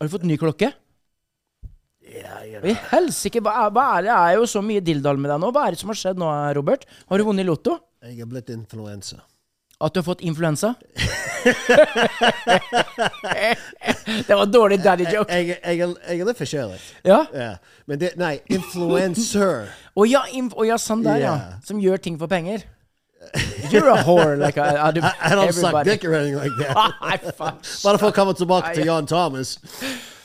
Har du fått ny klokke? Ja, ja. I helsike, hva, er- hva er det? Det er jo så mye dilldall med deg nå. Hva er det som har skjedd nå, Robert? Har du vunnet i Lotto? Jeg er blitt influensa. At du har fått influensa? det var dårlig daddy Jeg, joke. jeg, jeg, er- jeg er litt forskjellig. Ja? Ja. Men det Nei, influencer. Å ja, inf å ja, sånn der, ja. Ja. Som gjør ting for penger. You're a whore, like I, I do I, I don't suck everybody. Ah, dick or anything like that. Nei, faen. Bare for å komme tilbake til Jan Thomas.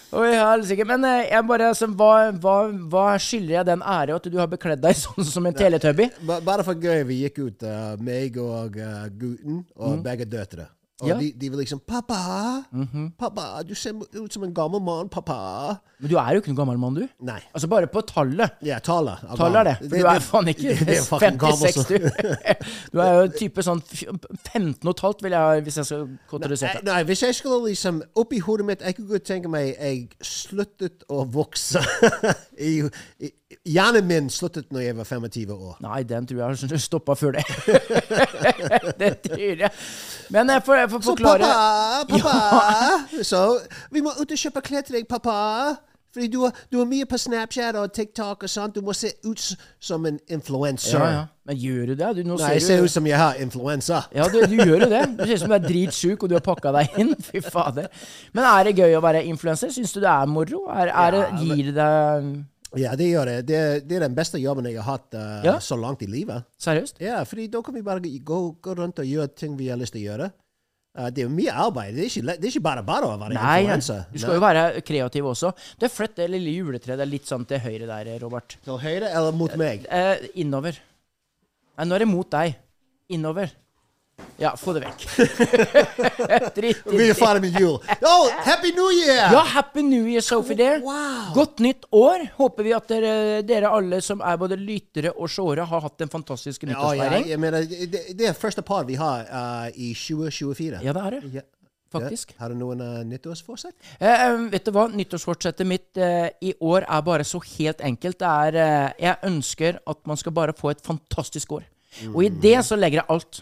Oi, helsike. Men eh, jeg bare, altså, hva, hva, hva skylder jeg den ære at du har bekledd deg sånn som en teletubby? Ba- Bare for gøy, vi gikk ut, eh, meg og eh, gutten, og begge døtre. Og Mm. Ja. Mhm. de, de var liksom 'Pappa, pappa, du ser ut som en gammel mann, pappa.' Men du er jo ikke noen gammel mann, du. Nei. Altså, bare på tallet. Ja, tallet. av Tallet er det. barn. For du er faen ikke det er fucking gammel, 56, så- du. Du er jo type sånn f- 15 og et halvt, vil jeg, hvis jeg skal Nei, kategorisere det. Eh, Nei, hvis jeg skulle liksom Oppi hodet mitt Jeg kunne godt tenke meg jeg sluttet å vokse. I, i, hjernen min sluttet når jeg var 25 år. Nei, den tror jeg har stoppa før det. det tror jeg. Men eh, jeg får, jeg får Så forklare pappa, pappa Så vi må ut og kjøpe klær til deg, pappa. Fordi du, har- du er mye på Snapchat og TikTok og sånt. Du må se ut s- som en influenser. Ja, ja. Men gjør du det? Du, nå Nei, jeg ser ser du ut som jeg har influensa. Ja, du, du gjør jo det. Du ser ut som du er dritsjuk, og du har pakka deg inn. Fy fader. Men er det gøy å være influenser? Syns du det er moro? Er, er det, gir det deg Ja, det gjør det. Det, det er den beste jobben jeg har hatt eh, Ja. så langt i livet. Seriøst? Ja, fordi da kan vi bare gå, gå rundt og gjøre ting vi har lyst til å gjøre. Eh, det er jo mye arbeid. Det er ikke, le- det er ikke bare bare å være Nei, nei. influenser. du skal jo være kreativ også. Du er flytt det lille juletreet det er litt sånn til høyre der, Robert. Til høyre eller mot meg? Eh, innover. Nei, nå er det mot deg. Innover. Ja, få det vekk. Drit i Vi er det. ferdig med jul. Oh, happy new year! Ja, happy new year, Sophie dear. Wow. Godt nytt år. Håper vi at dere, dere alle som er både lyttere og seere, har hatt en fantastisk Ja, ja, nyttårsfeiring. Ja, jeg mener, det, det er første par vi har eh, i 2024. det er det. Ja. Faktisk. Har du noen uh, nyttårsforsett? Eh, eh, vet du hva? Nyttårsfortsettet mitt eh, i år er bare så helt enkelt. Det er eh, Jeg ønsker at man skal bare få et fantastisk år. Og i det så legger jeg alt.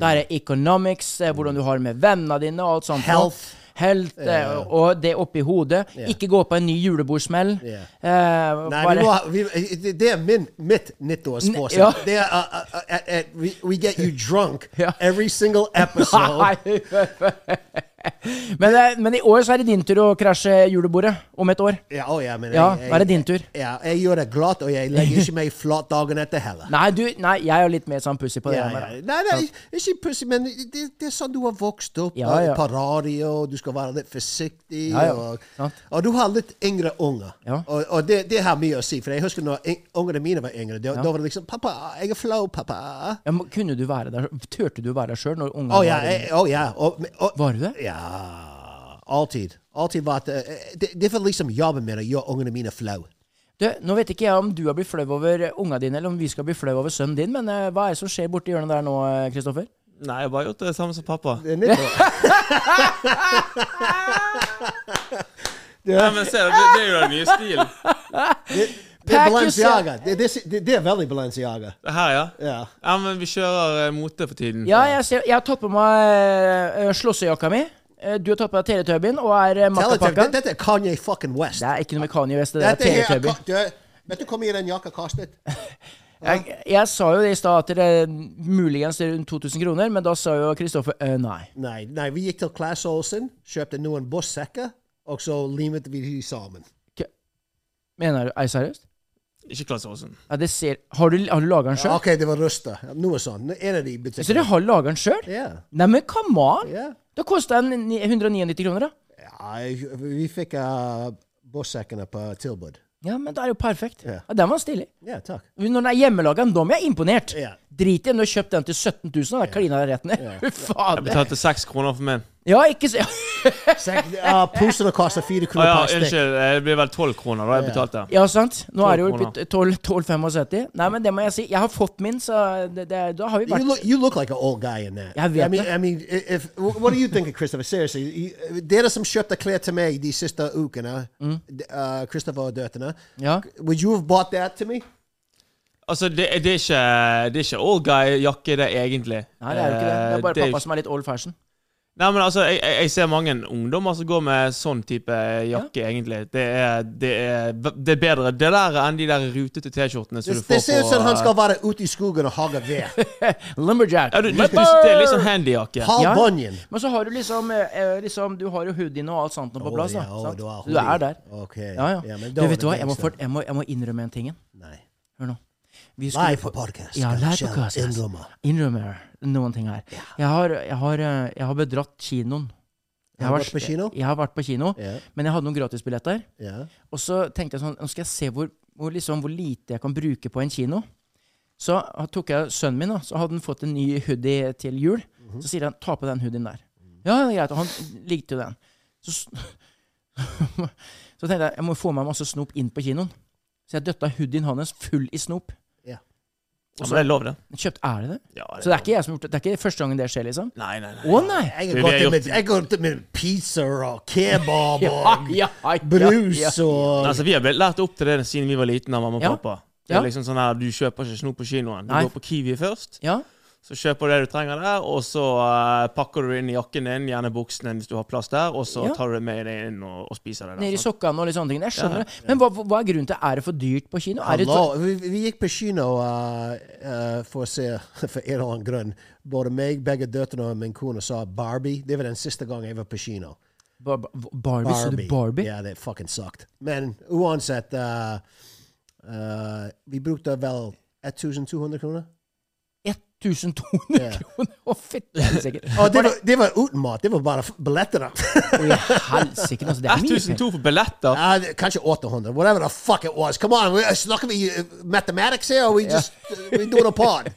Det er economics, eh, hvordan du har det med vennene dine og alt sånt. Health. Health, eh, og det oppi hodet. Ikke gå på en ny julebordsmell. Yeah. Eh, Nei, bare- vi må, ha- vi, det- det er min, mitt nyttårsforsett. Ja. Det er uh, uh, uh, at we, we get you drunk Ja. every single episode. Nei. men, eh, men i år så er det din tur å krasje julebordet. Om et år. Ja, å, ja, men Ja, jeg, da er det din tur. Ja, jeg gjør det glatt, og jeg legger ikke meg flat dagen etter heller. Nei, du, nei, jeg er litt mer sånn pussig på det. Ja, der, ja. da. Nei, nei, ikke pussig, men det, det er sånn du har vokst opp. Ja, Ja, ja. På radio, du skal være litt forsiktig. Ja, ja, sant. Og, og du har litt yngre unger. Ja. Og, og det, det har mye å si. For jeg husker når yng- ungene mine var yngre, da da var det liksom 'Pappa, jeg er flau, pappa'. Ja, men kunne du være der? Turte du å være der sjøl når ungene Å ja. var Jeg, å, ja. Og, og, Var du det? Ja. Alltid. Alltid vært eh, det, det var liksom jobben min å gjøre ungene mine flau. Du, nå vet ikke jeg om du har blitt flau over unga dine, eller om vi skal bli flau over sønnen din, men eh, hva er det som skjer borti hjørnet der nå, eh, Kristoffer? Nei, jeg bare gjort det samme som pappa. Det er nettopp. Det Nei, er, men se, det, det er jo den nye stilen. det er Pack Balenciaga. Det, det, det, det er veldig Balenciaga. Det her, ja. Ja. Ja, men vi kjører eh, mote for tiden. Ja, jeg, ser, jeg har tatt på meg uh, slåssejakka mi. Eh, Du har tatt på deg Teletubben og er eh, Teletubbies. makkapakka. Dette- Dette er Kanye fucking West. Det er ikke noe med Kanye West, det der Dette her er Teletubby. Ka- du, Vet du hvor mye den jakka kastet? Jeg, jeg sa jo det i stad at det er muligens rundt 2000 kroner, men da sa jo Kristoffer eh, nei. Nei, nei, vi gikk til Claes Olsen, kjøpte noen bussekker, og så limet vi de sammen. K- Mener du? Er det seriøst? Ikke Klasse Aasen. Ja, det ser, har du, har du laga den sjøl? Ok, det var rusta. Noe sånt. En av de Så dere butikkene. har laga den sjøl? Ja. Neimen, come on! ja. Det kosta 199 kroner, da. ja vi fikk uh, bussekkene på uh, tilbud. Ja, men det er jo perfekt. Ja. Ja, Den var stilig. Ja, takk. Når den er hjemmelaga, da blir jeg imponert. Ja. Drit i om du har kjøpt den til 17 000, og da klina jeg rett ned. Fy Jeg fader. betalte seks kroner for min. Ja, ikke så Sek, uh, Posene koster fire Å Ah, ja, kroner per stykk. unnskyld. eh, Det blir vel tolv kroner da jeg betalte. Ja, sant. Nå er det jo 12 kroner. blitt 12 12,75. Nei, men det må jeg si. Jeg har fått min, så det, det, da har vi You vært look, you look like an old guy in that. Jeg vet I mean, det. I mean, i- if, what do you think, Christopher? Seriously, you- dere som kjøpte klær til meg de siste ukene, Hmm? d- uh, Christopher og døtrene, Ja. would you have bought that to me? Altså, det, det er ikke Det er ikke old guy-jakke, det, egentlig. Nei, det er jo ikke det. Det er bare Eh, pappa som er litt old fashion. Nei, men altså, jeg, jeg jeg ser mange ungdommer som går med sånn type jakke, egentlig. Det er, det, er, det er bedre det der enn de der rutete T-skjortene som Det, du får det ser ut uh, som på han skal eh, være ute i skogen og hogge ved. Lumberjack. ja, du, du, du, Lumber! Det er litt sånn handyjakke. Paul Ja. Bunyan. Men så har du liksom, eh, liksom Du har jo hoodien og alt sånt nå på Å, plass. da, ja, å, sant? du har Så du er hoodie. der. Ok. Ja, ja. Ja, men da du, var vet det du hva, jeg må, gangster. for, jeg, må, jeg må innrømme en ting. igjen. Nei. Hør nå. Vi skulle Live få- på podcast. Ja, live Kanskje på podcast. innrømmer. Innrømmer noen ting her. Jeg, har, jeg, har, eh, jeg har bedratt kinoen. Jeg Har har, du vært på kino? Jeg, jeg har vært på kino, Ja. men jeg hadde noen gratisbilletter. Ja. Og så tenkte jeg sånn, nå skal jeg se hvor, hvor, liksom, hvor lite jeg kan bruke på en kino. Så tok jeg sønnen min, da, så hadde han fått en ny hoodie til jul. Så sier han, ta på den hoodien der. Ja, det er greit. Og han likte jo den. Så, s- så tenkte jeg, jeg må få meg masse snop inn på kinoen. Så jeg døtta hoodien hans full i snop. Ja. Ja, men det er lov, det. Kjøpt, er det det? Ja, det så det er ikke jeg som har gjort det. Det er ikke første gangen det skjer, liksom? Nei, nei, nei. Å nei! Jeg Vi- vi har gått har til gjort- med, jeg går til med er pizza og kebab og ja, ja, ja. brus og Altså, vi har blitt lært opp til det siden vi var liten av mamma og Ja. pappa. Det Ja. er liksom sånn her, Du kjøper ikke snop på kinoen. Du Nei. går på Kiwi først, Ja, så kjøper du det du trenger der, og så eh, pakker du det inn i jakken din, gjerne buksene hvis du har plass der, og så Ja. tar du det med deg inn og, og spiser det. der, Nede i sant? sokkene og litt sånne ting. Jeg skjønner det. Men hva, hva er grunnen til Er det for dyrt på kino? Er det Hallo, vi, vi gikk på kino uh, uh, for å se for en eller annen grunn. Både meg, begge døtrene og min kone sa Barbie. Det var den siste gangen jeg var på kino. Bar bar Barbie? Så du Barbie? Ja, det fucking sucked. Men uansett uh, uh, Vi brukte vel 1200 kroner. 1200 Ja. kroner? Å, fytti helsike. Og det var, det var uten mat. Det var bare f- billettene. Å, i helsike, altså. Det er mye penger. 1200 for billetter? Ja, det- kanskje 800. Whatever the fuck it was. Come on, we, snakker vi uh, mathematics here, or we just uh, we doing a pod?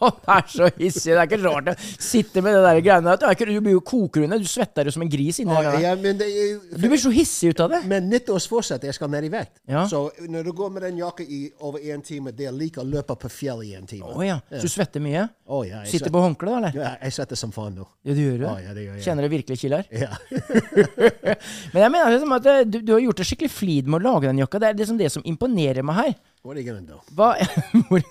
Han er så hissig. Det er ikke rart å sitte med det der greiene der. Du, er ikke, du blir jo kokerunde. Du svetter jo som en gris inni Ja, der. ja, men det, Du blir så hissig ut av det. Men nyttårsforsett, jeg skal ned i vekt. Ja. Så når du går med den jakka i over én time, det er like å løpe på fjellet i en time. Å ja. Så du svetter mye? Å, ja, jeg Sitter svetter. på håndkle, da, eller? Ja, jeg svetter som faen nå. Ja, du gjør det. Å, ja, det gjør jeg. Kjenner det virkelig kiler? Ja. Men jeg mener liksom at eh, du, du har gjort det skikkelig flid med å lage den jakka. Det er liksom det som imponerer meg her. What are you gonna do? Hva, hvor,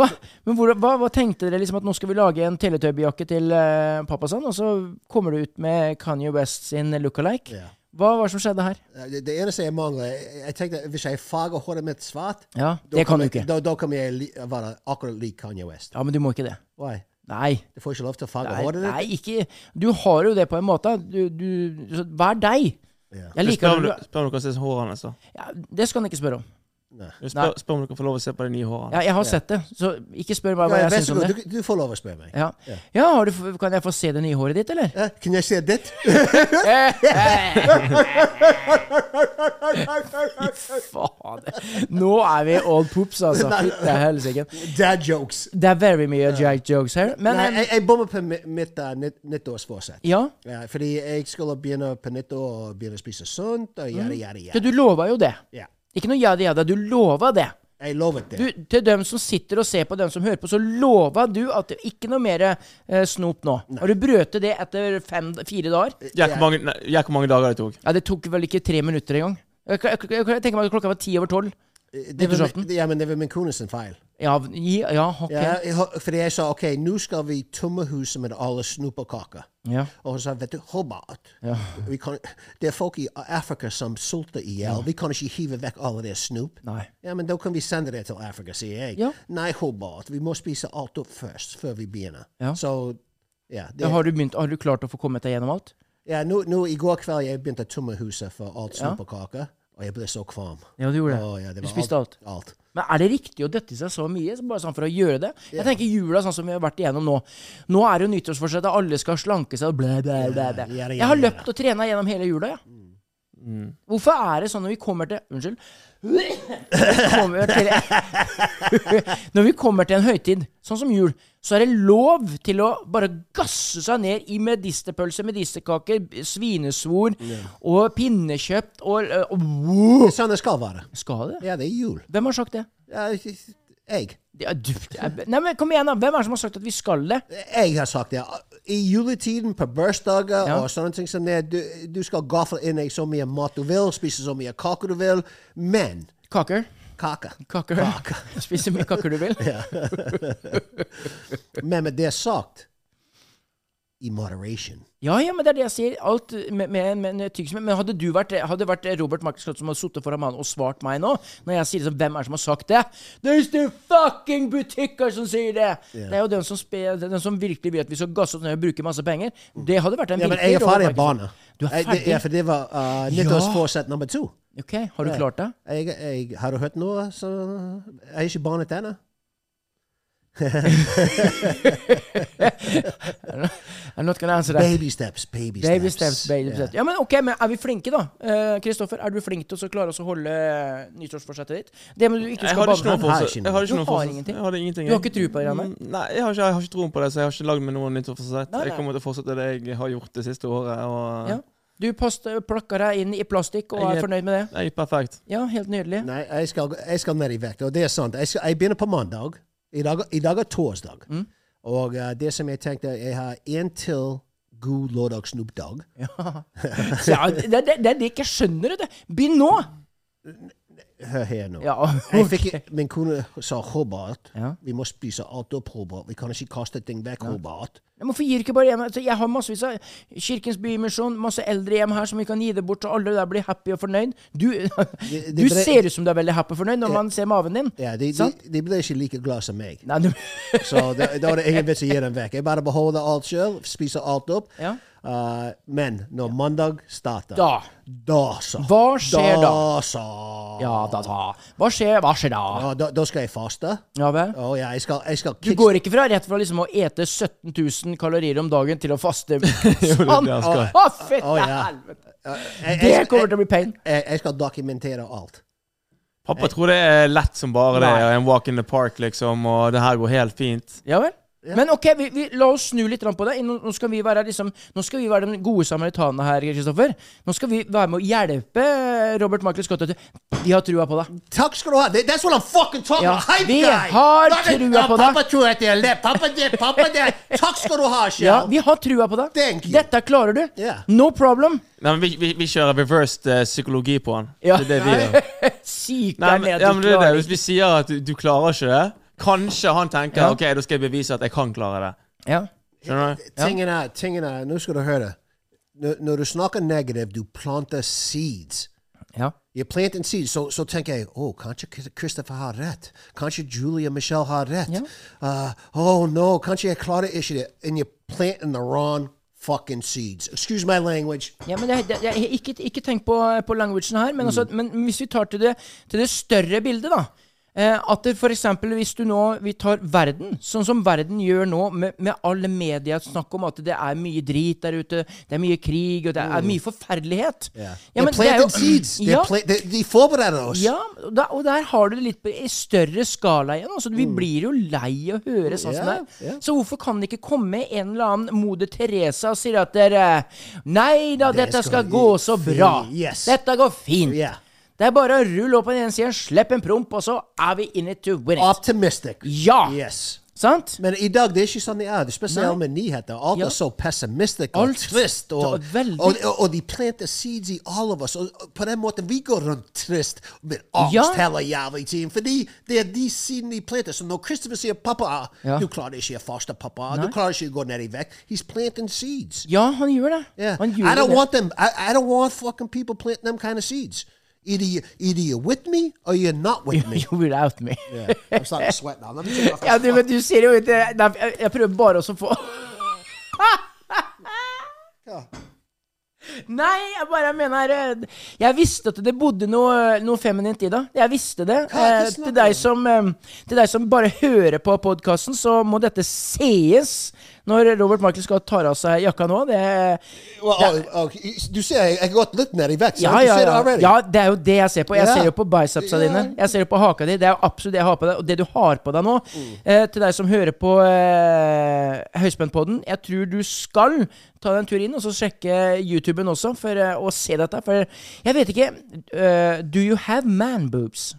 hva, men hvor, hva, hva tenkte dere liksom at nå skal vi lage en teletubbyjakke til eh, pappa sånn, og så kommer du ut med Kanye West sin look-alike? Ja. Hva var det som skjedde her? Eh, Det, det eneste jeg mangler jeg, jeg tenkte, Hvis jeg farger håret mitt svart, Ja, da det kan du kommer jeg- ikke. Da, da kan jeg li, være akkurat lik Kanye West. Ja, men du må ikke det. Why? Nei. Du får ikke lov til å farge Nei, håret ditt? nei, ikke Du har jo det på en måte. Du, du, så vær deg. Ja. Jeg Spør liker om, det. du- spør om du kan se hårene hans, da. Ja, det skal han ikke spørre om. Spør, spør om du kan få lov å se på de nye hårene. Ja, jeg har sett det, så ikke spør meg hva Ja, jeg vær syns så om god, det. du, du får lov å spørre meg. Ja, ja har du, f- kan jeg få se det nye håret ditt, eller? Eh, Eh, Kan jeg se ditt? Fader. Nå er vi old poops, altså. Fytte helsike. Dad jokes. Det er very mye jack jokes her. Men Nei, em, jeg, jeg bommer på mi- mitt uh, nytt- nyttårsforsett. ja, Ja, fordi jeg skulle begynne på nyttår Mm. og begynne å spise sunt og gjerde, gjerde, for gjerde. du lova jo det. Ja. Ikke noe jada jada, du lova det. Jeg lovet det. Du, til dem som sitter og ser på, dem som hører på, så lova du at det ikke noe mer eh, snop nå. Og du brøt det etter fem, fire Eh. dager. Gjett hvor mange- nei, gjett hvor mange dager det tok. Ja, det tok vel ikke tre minutter engang. Jeg, jeg, jeg, jeg tenker meg at klokka var ti over tolv. det er vel, nyttårsaften. ja, men det er vel min kone sin feil. Ja, gi- ja, ok. Ja, jeg har- fordi jeg sa OK, nå skal vi tømme huset med alle snoperkaker. Ja. Og hun sa vet du, Hobart vi kan, Det er folk i Afrika som sulter i hjel. Vi kan ikke hive vekk alle det snop. Nei. Ja, men da kan vi sende det til Afrika, sier jeg. Ja. Nei, Hobart, vi må spise alt opp først, før vi begynner. Ja. Så ja, det, Ja, Har, du begynt, har du klart å få kommet deg gjennom alt? ja nå, nå, I går kveld jeg begynte å tømme huset for alt snoperkaker, og jeg ble så kvalm. Ja, du gjorde det. Å, ja, det du var spiste alt. alt. Men er det riktig å døtte i seg så mye så bare sånn for å gjøre det? Jeg tenker jula sånn som vi har vært igjennom nå. Nå er det jo nyttårsforsettet, alle skal slanke seg og blæ, blæ, blæ. blæ. Ja, gjerne, Jeg har gjerne. løpt og trena gjennom hele jula, ja. Hvorfor er det sånn når vi kommer til Unnskyld. Kommer til, når vi kommer til en høytid, sånn som jul, så er det lov til å bare gasse seg ned i medisterpølse, medisterkaker, svinesvor og pinnekjøtt og, og Det er sånn det skal være. Skal det? Ja, det er jul. Hvem har sagt det? Ja, jeg. Ja, du, jeg- nei, men kom igjen, da. Hvem er det som har sagt at vi skal det? Jeg har sagt det. I juletiden, på bursdager Ja. og sånne ting som det, du, du skal gafle inn deg så mye mat du vil, spise så mye kake du vil, men Kaker. kake. Kaker. Spis så mye kaker du vil. Men med det sagt, i moderation. Ja, ja, men det er det jeg sier. Alt med, med, med, med tygg som- Men hadde du vært, hadde det vært Robert Markus Klotz som hadde sittet foran meg og svart meg nå, når jeg sier liksom, hvem er det som har sagt det? There's the fucking butikker som sier det! Det er jo den som, spe, den som virkelig vil at vi skal gasse oss ned og bruke masse penger. Det hadde vært en Ja, men virkelig jeg er ferdig Robert med Markus- barna. Du er Jeg- det- ferdig? Ja, for det var uh, nyttårsforsett nummer to. Ok, har du klart det? Jeg, jeg, har du hørt noe? Så, jeg er ikke barnet ennå. I'm not gonna answer that. Baby steps, baby steps. Baby steps, baby steps. Ja, men ok, men er vi flinke, da? Eh, Kristoffer, er du flink til å så klare oss å holde eh, nyttårsforsettet ditt? Det med du ikke Jeg skal hadde ikke banne noe Nei, fortsett. ikke Jeg hadde ikke noe. noe Du har fortsett. ingenting. Jeg hadde ingenting. Du har ikke tro på det, nei? Mm, Nei, jeg har ikke, jeg har ikke troen på det, så jeg har ikke lagd meg noe nytt forsett. Nei, nei. Jeg kommer til å fortsette det jeg har gjort det siste året. Og Ja. Du post, plakker deg inn i plastikk og Jeg er er- fornøyd med det? jeg er perfekt. Ja, helt nydelig. Nei, jeg skal, jeg skal ned i vekt, og det er sant. Jeg, skal, jeg begynner på mandag. I dag, i dag er torsdag. Mm. Og eh, det som jeg tenkte, jeg har én til god lørdag-snoopdag. Så, ja, det, det, det er det jeg ikke skjønner, vet du. Begynn nå! Hør her nå. Ja, Jeg ok. fikk, min kone sa Hobart. Ja. Vi må spise alt opp, Hobart. Vi kan ikke kaste ting vekk, Hobart. Men Hvorfor gir ikke bare hjem? Altså, jeg har massevis av Kirkens Bymisjon, masse eldrehjem her som vi kan gi det bort, så alle der blir happy og fornøyd. Du, det du ble- ser ut som du er veldig happy og fornøyd når man ser maven din. Ja, de, de, Sant? de ble ikke like glad som meg. Nei, du... Så da da er det ingen vits i å gi dem vekk. Jeg bare beholder alt sjøl, spiser alt opp. Ja. Eh, men når mandag starter Da. Da, sa Hva skjer da? sa Ja, da, da. Hva skjer, hva skjer da? Ja, da, da skal jeg faste. Ja vel? Å ja, jeg skal, jeg skal Du kick- går ikke fra rett fra liksom å ete 17 000 kalorier om dagen til å faste sånn! jeg Å, skal. fette Å, ja. helvete! jeg, Det kommer til å bli pain. jeg, jeg skal dokumentere alt. Pappa tror det er lett som bare det. Nei. En walk in the park, liksom, og det her går helt fint. Ja vel? Men ok, vi, vi, la oss snu litt grann på det. Nå, nå, skal vi være, liksom, nå skal vi være de gode samaritanene her, Kristoffer. Nå skal vi være med å hjelpe Robert Michael Scott. Vi har trua på deg. Takk skal du ha. That- That's what I'm fucking talking Ja, about. Hype vi guy. har Fucking- trua Ja, på Pappa tror at jeg er lett. Pappa det, pappa det. Takk skal du ha, Kjell. Ja, vi har trua på deg. Thank you. Dette klarer du. Ja. No problem. Nei, men vi, vi, vi kjører reversed eh, psykologi på han. Ja. Det er det vi gjør. Syk Nei, der men, nede. ja, men det er det. klarer Hvis vi sier at du, du klarer ikke det, kanskje han tenker Ja. ok, da skal jeg bevise at jeg kan klare det. Ja. Skjønner du? Tingen er, tingen er, nå skal du høre. Når, når du snakker negativt, du planter seeds. ja. You plant in seeds, så, så tenker jeg oh, kanskje Chris- Christopher har rett. Kanskje Julia Michelle har rett. Ja. Uh, oh no, kanskje jeg klarer ikke det. And you plant in the wrong fucking seeds. Excuse my language. Ja, men det, det, jeg, ikke, ikke tenk på, på languagen her, men, altså, Mm. men hvis vi tar til det, til det større bildet, da. Eh, at det for eksempel hvis du nå vi tar verden, sånn som verden gjør nå, med, med alle media snakk om at det er mye drit der ute, det er mye krig, og det Mm. er mye forferdelighet. They planted seeds. They ja, pla- they- de forbereder oss. ja, og der, og der har du det litt på- i større skala igjen. Altså, vi blir jo lei å høre sånn som Mm. Ja, det er. Så hvorfor kan det ikke komme en eller annen moder Teresa og si at dere Nei da, Det dette skal skal gå gi så fri- bra. yes. Dette går fint. Ja. Det er bare å rulle opp på den ene siden, slipp en promp, og så er vi in it to win it. Optimistic. Ja. Yes. Sant? Men i dag det er ikke sånn det er. Det er Spesielt Nei. med nyheter. Alt Ja. er så pessimistisk og Alt. trist. Og, Det er veldig- og, og, og de planter seeds i alle av oss. Og og på den måten vi går rundt trist med angst Ja. hele jævlig tiden. Fordi det er de seedene de planter. Så når Christopher sier 'pappa', Ja. du klarer ikke å foster pappa. Du klarer ikke å gå ned i vekt. He's planting seeds. Ja, han gjør det. Yeah. Han I gjør don't det. want them. I, I don't want fucking people planting them kind of seeds. Either you, either you're with me or you're not with me. You without me. Yeah. I'm starting to sweat now. Let me take off. Ja, du, men du ser jo ikke Nei, jeg- Jeg prøver bare også å få Nei, jeg bare mener eh, Jeg visste at det bodde noe, noe feminint i det. Jeg visste det. Hva er Eh, det du Til snakker om? deg som, eh, til deg som bare hører på podkasten, så må dette sees når Robert Michael skal ta av seg jakka nå. Det, Well, oh, oh, du ser, jeg jeg har gått litt ned i vekt. ja, sant? ja, Sånn Du ser det ja. already. ja, det er jo det jeg ser på. Jeg Ja. ser jo på bicepsa dine. Jeg ser jo på haka di. Det er jo absolutt det jeg har på deg. Og det du har på deg nå, eh, til deg som hører på eh, Høyspentpodden, jeg tror du skal ta deg en tur inn og så sjekke YouTuben også for eh, å se dette. For jeg vet ikke eh, Do you have man boobs?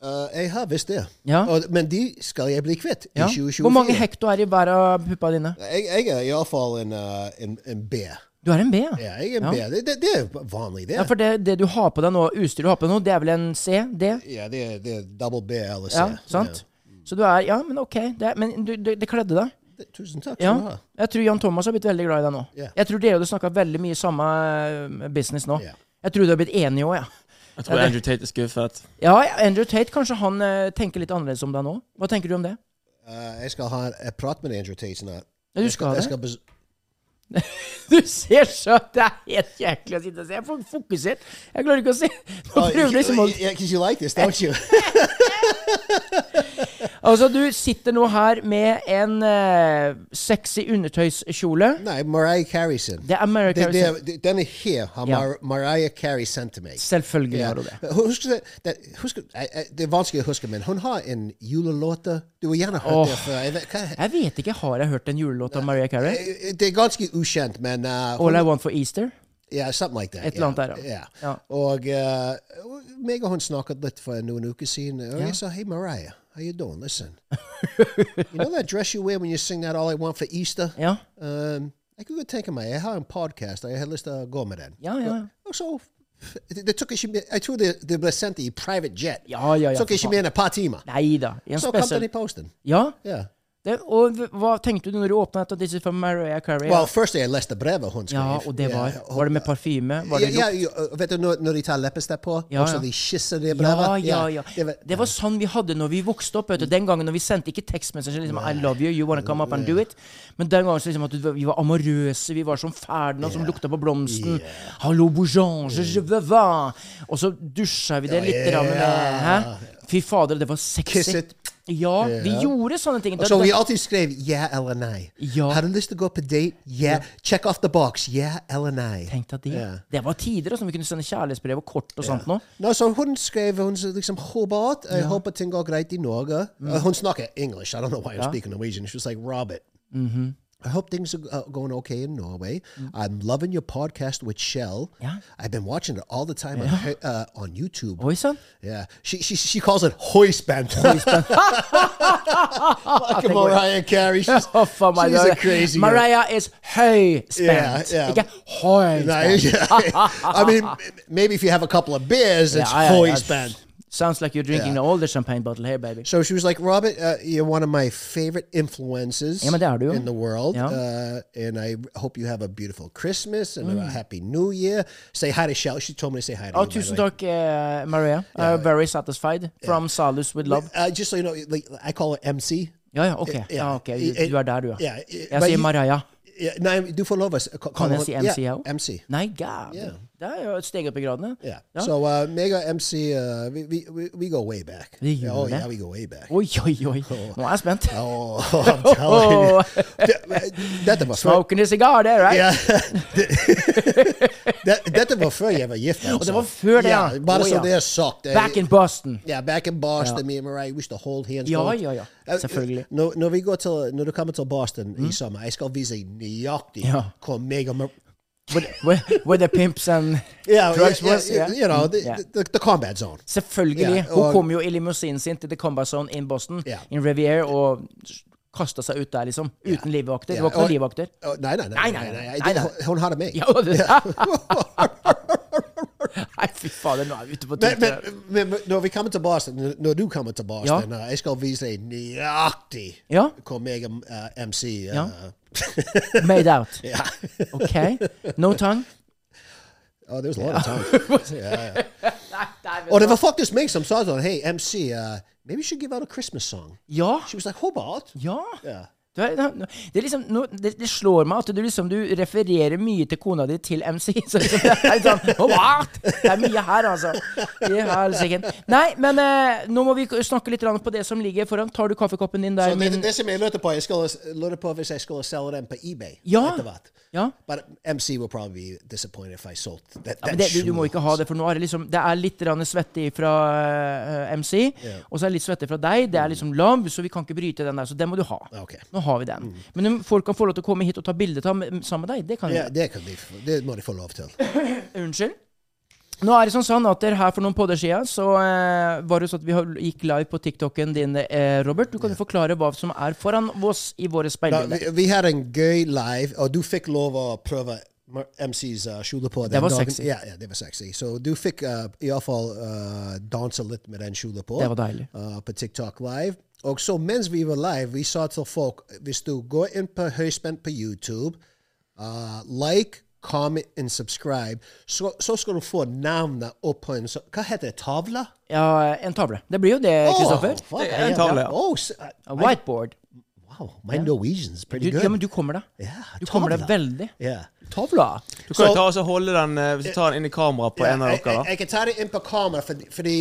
Eh, jeg har visst det. Ja. Og, men de skal jeg bli kvitt i Ja. 2024. Hvor mange hekto er i hver av puppa dine? Jeg, jeg er iallfall en, uh, en, en B. Du er en B, ja. Ja, jeg er en Ja. B. Det, det, det er vanlig, det. Ja, for det, det du har på deg nå, utstyret du har på deg nå, det er vel en C? D? Ja, det, er- det er double B eller C. Ja, sant? Så du er Ja, men OK. Det er, men du, du, det kledde deg. Ja. Tusen takk. Ja. skal du ha. Jeg tror Jan Thomas har blitt veldig glad i deg nå. Ja. Jeg tror dere hadde snakka veldig mye samme eh, business nå. Ja. Jeg tror du har blitt enige òg, ja. Jeg tror Andrew Tate er skuffet. Ja, Andrew Tate, kanskje han eh, tenker litt annerledes om deg nå? Hva tenker du om det? Eh, jeg skal ha en jeg prat med Andrew Tate snart. Ja, du Jeg skal ha jeg det. skal bes- Du ser så Det er helt jæklig å sitte og se. Jeg er for fokusert. Jeg klarer ikke å se. Nå Oh, prøver jeg liksom å you- yeah, 'cause you like this, don't you? Altså, du sitter nå her med en eh, sexy undertøyskjole. Nei, Mariah Carey sin. Det er Mary Det- Carey. det sin. er- det- Denne her har Ja. Mar Mariah Carey sendt til meg. Selvfølgelig Ja. har du det. Husk, det, det, husk, jeg- jeg- det er vanskelig å huske, men hun har en julelåte. Du har gjerne hørt Åh. det Er før. Jeg vet- hva- Jeg vet ikke. Har jeg hørt en julelåt av Mariah Carey? Det er ganske ukjent, men uh, hun, All I Want for Easter? ja, something like that. Et ja. eller annet der, ja. ja. Ja. Og uh, meg og hun snakket litt for noen uker siden, og jeg sa, hey Mariah, how you doing? Listen, you know that dress you wear when you sing that All I Want for Easter? Ja. Um, jeg kunne godt tenke meg, jeg har en podcast, og jeg har lyst til å gå med den. Ja, ja. Og så det, det tok ikke mer Jeg tror det, det ble sendt i private jet. Ja, ja, ja, tok for ikke faen. mer enn et par timer. Nei da. i En Så kom spesiell den i posten. Ja. Ja. Det, og v- hva tenkte du når du åpna et av disse fra Mariah Carey? Well, først jeg leste brevet hun skrev. ja, og det var Ja, Var det med parfyme? Var det ja, ja, jo, uh, vet du når, når de tar leppestift på, Ja, og så ja. de kysser det brevet? ja, ja, ja. Det var, Det var sånn vi hadde når vi vokste opp. Vet du. Den gangen når vi sendte ikke tekstmessager liksom, I love you, you wanna come up and do it. Men den gangen så liksom at du- vi var amorøse, vi var som Ferdinand som lukta på blomsten. Hallo, bourgeon, je, je veux voir. Og så dusja vi det litt yeah. Ja. med Hæ? Fy fader, det var sexy. Kiss it. Ja, vi gjorde sånne ting. og så vi alltid skrev ja eller nei. Ja. Har du lyst til å gå på date? Ja. Check off the box. Ja eller nei. Tenk deg det. Ja. Det var tider altså, vi kunne sende kjærlighetsbrev og kort og sånt nå. No, så hun skrev hun sa liksom Hobart. Jeg håper ting går greit i Norge. Mm. Uh, hun snakker engelsk. I don't know why I'm speaking Norwegian. She was like, Robert. Mm-hmm. I hope things are uh, going okay in Norway. I'm loving your podcast with Shell. Mm. Yeah. I've been watching it all the time on, her- uh, on YouTube. Oi sånn. sann. Yeah, she she she calls it hoistband. like a Mariah Carey. She's, Å, faen meg. she's det a var- crazy girl. Mariah is høyspent. Ja, ja. Ikke No, høyspent. yeah. I mean, maybe if you have a couple of beers, it's Ja, ja, ja. hoistband. Sounds like you're drinking the older champagne bottle here, baby. So she was like, Robert, uh, you're one of my favorite influences Ja, men det er du jo. in the world. Ja. Uh, and I hope you have a beautiful Christmas and a happy new year. Say hi to Shell. She told me to say hi to Å, you. by tusen the way. takk, eh, Mariah. Uh, very satisfied from Salus with love. Uh, just so you know, like, I call her MC. Ja, ja, ok. Ja, ok. Du, du er der, du, ja. Yeah. Jeg sier Mariah. Yeah, no, do for love us. uh, ca- call jeg her- si MC yeah, også? MC. Nei, gæren. Ja. Det er jo et steg opp i gradene. Yeah. Ja. So uh, Mega MC, uh, we, we, we, we go way back. We go oh, back. yeah, we go way back. Oi, oi, oi. Nå er jeg spent. Oh, I'm telling you. That- That was Smoking a cigar, det, right? Ja. Det- det- Dette var før jeg var gift. Altså. det var før det, ja. ja. Bare Å, så ja. det er sagt. Jeg- Back in Boston. ja, back in Boston, me and Mariah, we used to hold hands. Ja, going- ja, ja. Eh, Selvfølgelig. Mm. Når, når, vi går til, når du kommer til Boston i sommer, jeg skal vise nøyaktig Ja. hvor meg og Mar- With, with, with the pimps and Yeah, Drugs yeah, was, yeah, yeah. you know, the, Yeah. the, the combat zone. Selvfølgelig. Ja, og- Hun kom jo i limousinen sin til The Combat Zone in Boston, Ja. in Revier, og kasta seg ut der, liksom. Uten livvakter. Ja, Det var ikke og- noen livvakter. Oh, nei, nei, nei. Nei, nei, nei, Det- nei, nei. hun- Hun hadde meg. Ja, og det, Nei, fy fader, nå er vi ute på Men, men, tyntet. men, men når vi kommer til Boston, når du kommer til Boston, Ja. eh, jeg skal vise deg nøyaktig Ja. hvor meg og eh, MC eh, Ja. Made out. OK. No tongue. Oh, there was a lot of time. yeah, yeah. or if I fuck this make some songs on, hey MC, uh, maybe you should give out a Christmas song. Ja. She was like, Hobart. Ja. Yeah. Du er, det, er liksom, nå, det, det slår meg at du liksom du refererer mye til kona di til MC. Så liksom, det, er litt sånn, «Å, what? det er mye her, altså. I helsiken. Nei, men eh, nå må vi snakke litt grann på det som ligger foran. Tar du kaffekoppen din der? Så det, min- det, det som jeg lurte på, jeg skulle, lurte på hvis jeg skulle selge den på eBay. Ja. etter hvert. Ja. But MC will probably be disappointed if I sold that, that Ja, men det, du, du må shoe. ikke ha det, for nå er det liksom Det er litt grann svette fra eh, MC, og så er det litt svette fra deg. Mm. Det er liksom lav, så vi kan ikke bryte den der, så den må du ha. Ok. Nå har vi Mm. den. Men om folk kan få lov til å komme hit og ta bilde av m- sammen med deg, det kan vi. Ja, det, kan de, få- det må de få lov til. Unnskyld. Nå er det sånn sånn at her for noen podder siden så eh, var det sånn at vi har- gikk live på TikToken din, eh, Robert. Du kan jo forklare hva som er foran oss i våre Da, speilbilder. vi, vi hadde en gøy live, og du fikk lov å prøve Mar- MCs uh, kjole på. den Det var dagen. sexy. Ja, ja, det var sexy. Så du fikk uh, iallfall uh, danse litt med den kjolen på. Det var deilig. Uh, på TikTok live. Og så mens vi var live, vi sa til folk hvis du går inn på Høyspent på YouTube, uh, like, comment and subscribe, så, så skal du få navnet opp på en så, Hva heter det? Tavle? Ja, en tavle. Det blir jo det, Kristoffer. fuck, Det er en ja. tavle, ja. Oh, s- A Whiteboard. wow, my Norwegian's pretty Du, good. ja, men du kommer deg. Ja, Du kommer deg tavla. veldig. Yeah. Tavla! Du kan Så- jo ta og så holde den eh, hvis du tar den inn i kameraet på Ja, en av jeg, dere. jeg, jeg kan ta det inn på kamera, fordi, fordi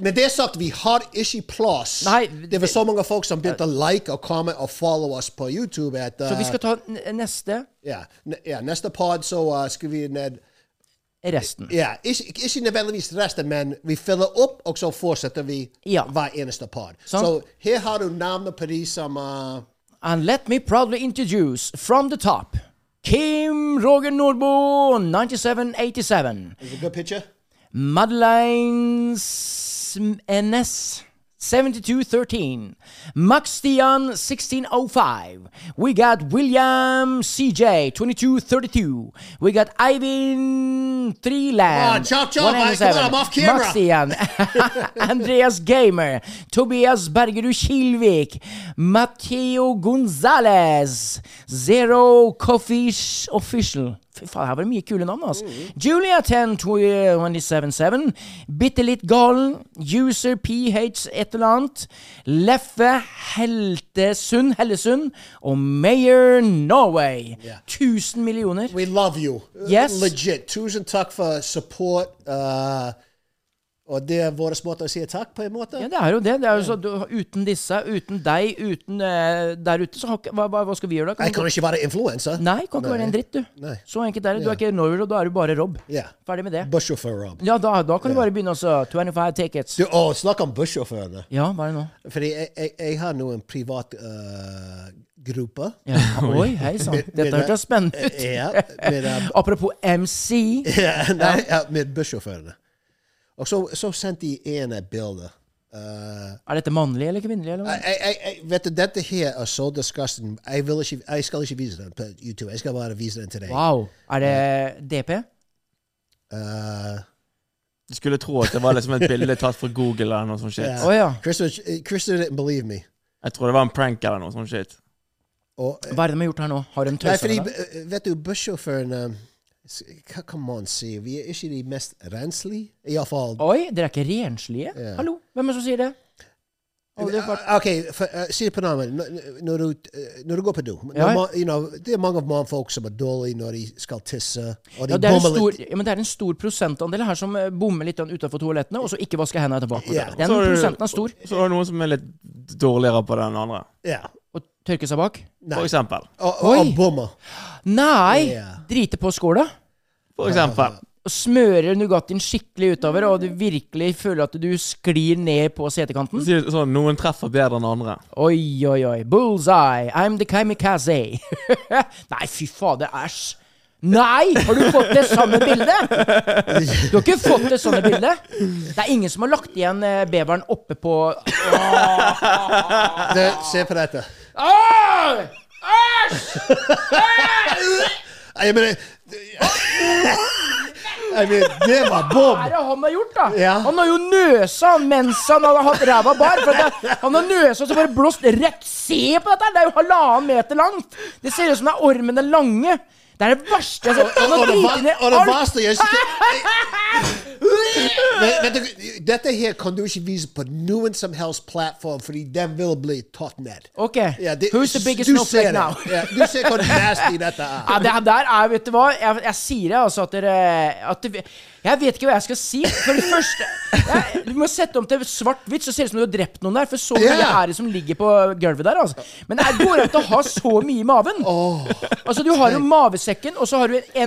Med det er sagt, vi har ikke plass. Nei, det var så mange folk som begynte å like og komme og follow oss på YouTube. At, Så vi skal uh, ta n- neste ja, ne- ja, neste pod så uh, skal vi ned resten. ja, ikke, ikke nødvendigvis resten, men vi fyller opp, og så fortsetter vi Ja. hver eneste pod. Sant. Så her har du navnet på de som uh, And let me proudly introduce from the top Kim Roger Nordbo 9787. Is it a good picture? Madeleine Sm- NS 7213. Max Stian 1605. We got William CJ 2232. We got Ivan Treeland. Oh, chop, chop, I- come on, I'm off camera. Max Stian. Andreas Gamer. Tobias Bergerud Kilvik. Matteo Gonzales. Zero Coffee Sh- Official. Fy faen, her var det mye kule navn, altså. Julia eh, 10277. Bitte litt galen. User PH et eller annet. Leffe Heltesund, Hellesund. Og Mayor Norway. 1000 millioner. We love you. Yes. Legit. Tusen takk for support. Uh, og det er vår måte å si takk på en måte. Ja, det er jo det. det er jo så, du, uten disse, uten deg, uten eh, der ute, så har, ikke- hva, hva, hva skal vi gjøre da? Jeg du- kan ikke være influenser. nei, kan ikke være en dritt, du. Nei. Så enkelt er det. Du er ikke Norway, og da er du bare Rob. Ja. Ferdig med det. Bussjåfør, Rob. Ja, da, da kan du bare begynne også. 25 tickets. Du, å, snakk om bussjåførene. Ja, hva er det nå? Fordi jeg, jeg, jeg har nå en privat øh, gruppe. Ja. Oi, hei sann. Dette Mine- hørtes spennende ut. Ja, med, øh, Apropos MC. ja, nei, ja, med bussjåførene. Og så, så sendte de ene bilde. Øh, Er dette mannlig eller kvinnelig? Eller? hva? jeg, jeg, jeg, vet du, dette her er så disgusting. Jeg, vil ikke, jeg skal ikke vise den på YouTube. Jeg skal bare vise den til deg. Wow. Er det DP? Øh, Du skulle tro at det var liksom et bilde tatt fra Google eller noe sånt shit. Å ja. Krista Krista didn't believe me. Jeg tror det var en prank eller noe sånt shit. Og, Hva er det de har gjort her nå? Har de Nei, tøysa fordi, med deg? eh, vet du, bussjåføren eh, s- hva kan man si? Vi er ikke de mest renslige. Iallfall Oi, dere er ikke renslige? Ja. Hallo, hvem er det som sier det? Å, det er bare- OK, for, eh, si det på navnet. Når, når, du, eh, når du går på do når, Ja. ma- you know, Det er mange av mannfolk som er dårlige når de skal tisse, og de Ja, det er en bommer stor, litt. ja, men det er en stor prosentandel her som eh, bommer litt utafor toalettene, og så ikke vasker hendene etterpå. Ja. Den Så har du- prosenten er stor. Så er det noen som er litt dårligere på den andre. Ja. Og tørker seg bak. For eksempel. Og, og, og Oi. bommer. Nei! Ja. Driter på skåla. For eksempel. Og smører Nugattien skikkelig utover, og du virkelig føler at du sklir ned på setekanten. Si det Sånn, noen treffer bedre enn andre. Oi, oi, oi. Bullseye. I'm the kamikaze. Nei, fy fader. Æsj. Nei! Har du fått det samme bildet? Du har ikke fått det samme bildet? Det er ingen som har lagt igjen eh, beveren oppe på Det, se på dette. Åh! Jeg mener Jeg mener, det Hva er var bom! det han har gjort, da? Ja. Han har jo nøsa han mens han har hatt ræva bar. For at det, han har nøsa så bare blåst rett. Se på dette! her, Det er jo halvannen meter langt! Det ser ut som det er ormen den lange. Det er det verste jeg har sett. Han Og har det var- driti ned og det alt. verste jeg Men- men du- Dette her kan du ikke vise på noen som helst plattform, fordi den vil bli tatt ned. Ok, Ja, det- who's the biggest du ser snowflake det. now? Ja, du ser hvor nasty dette er. Ja, det her der er, vet du hva, jeg, jeg sier det altså at dere at det, Jeg vet ikke hva jeg skal si. For det første, jeg, du må sette om til svart-hvitt, så ser det ut som du har drept noen der. For så mye Ja. er det som ligger på gulvet der, altså. Men det går an å ha så mye i maven. Altså, du har jo mavesekken, og så har du en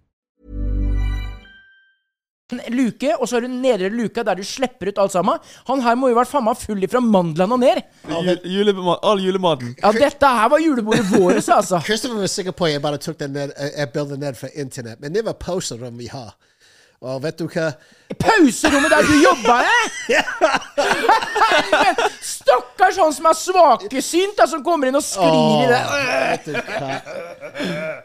luke, og så har du den nedre luka der du slipper ut alt sammen. Han her må jo ha vært faen meg full ifra mandlene og ned. Jul- julema- All julematen. Ja, dette her var julebordet vårt, altså. Christopher var sikker på at jeg bare tok den ned, jeg- jeg bildet ned fra internett, men det var poseren vi har. Og vet du hva? Pauserommet der du jobba, eh? Stakkars han som er svakesynt, da, som kommer inn og sklir i det. Vet du hva?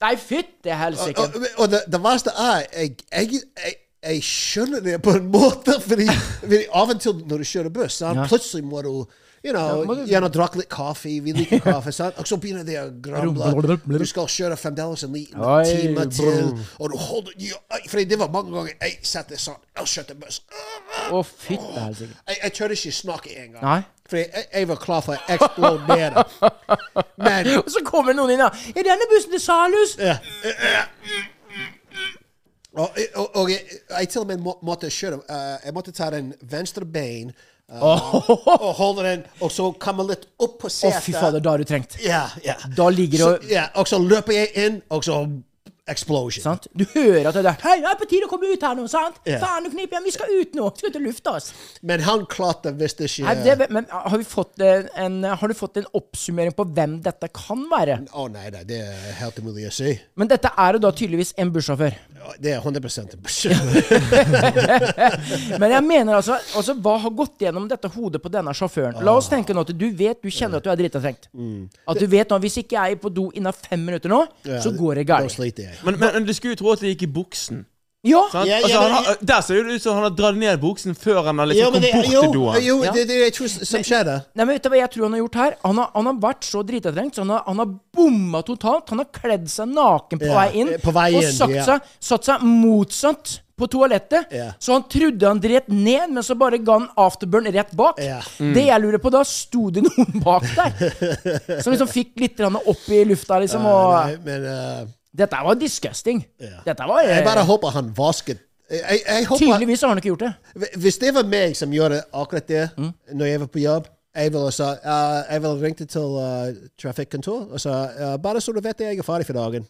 Nei, fytti helsike. Og, og det, det verste er, jeg, jeg, jeg, jeg skjønner det på en måte, fordi, fordi av og til når du kjører buss, sant, plutselig må du You know, Gjerne drikke litt kaffe. Vi liker kaffe. sant? Og så begynner de å gramble. Du skal kjøre fremdeles en liten Oi, time til. brr. Og du holder ja, Fordi det var mange ganger jeg satt der sånn og kjørte buss. Å, fytti helsike. Jeg, jeg tør ikke snakke engang. Nei. For jeg, jeg var klar for å eksplodere. Men Og så kommer noen inn, da. Er denne bussen til Salhus? Og, og, og jeg, jeg til og med må, måtte kjøre eh, Jeg måtte ta den venstre bein eh, og holde den, og så komme litt opp på Å, setet. fy fader, da har du trengt. Ja, ja. Da ligger Så- det og ja, og så løper jeg inn, og så explosion. Sant? Du hører at det er Hei, det er på tide å komme ut her nå, sant? Ja. Faen, du kniper igjen, vi skal ut nå! Skal ut og lufte oss. Men han klarte visst ikke Nei, det, men har, vi fått eh, en, har du fått en oppsummering på hvem dette kan være? Å nei da, det er helt umulig å si. Men dette er jo da tydeligvis en bussjåfør. Det er 100 bussjåfør. Men jeg mener altså, altså Hva har gått gjennom dette hodet på denne sjåføren? La Ah. oss tenke nå at du vet du kjenner at du er drita trengt. Mm. At du vet nå hvis ikke jeg er på do innen fem minutter nå, så går det Da galt. sliter Sånn. jeg. Men, men, men du skulle jo tro at det gikk i buksen. Ja! Sant? Ja, ja, altså, men- han, har- der ser det ut som han har dratt ned buksen før han har liksom kommet bort jo, til doen. jo, det er det jeg tror som skjedde. Nei, men vet du hva jeg tror han har gjort her? Han har, han har vært så drita trengt, så han har, han har bomma totalt. Han har kledd seg naken på Ja, vei inn, eh, på vei og inn, satt, ja. seg, satt seg motsatt på toalettet. Ja. Så han trodde han dret ned, men så bare ga han afterburn rett bak. Mm. Ja. Det jeg lurer på da, sto det noen bak der? Som liksom fikk litt grann opp i lufta, liksom. Og Nei, men eh, dette var disgusting. Ja. Dette var eh, jeg bare håper han vasket jeg, jeg, jeg håper Tydeligvis har han ikke gjort det. Hvis det var meg som gjorde akkurat det når jeg var på jobb, jeg ville sa- eh, jeg ville ringt til eh, trafikkontor og sa eh, bare så du vet det, jeg er ferdig for dagen.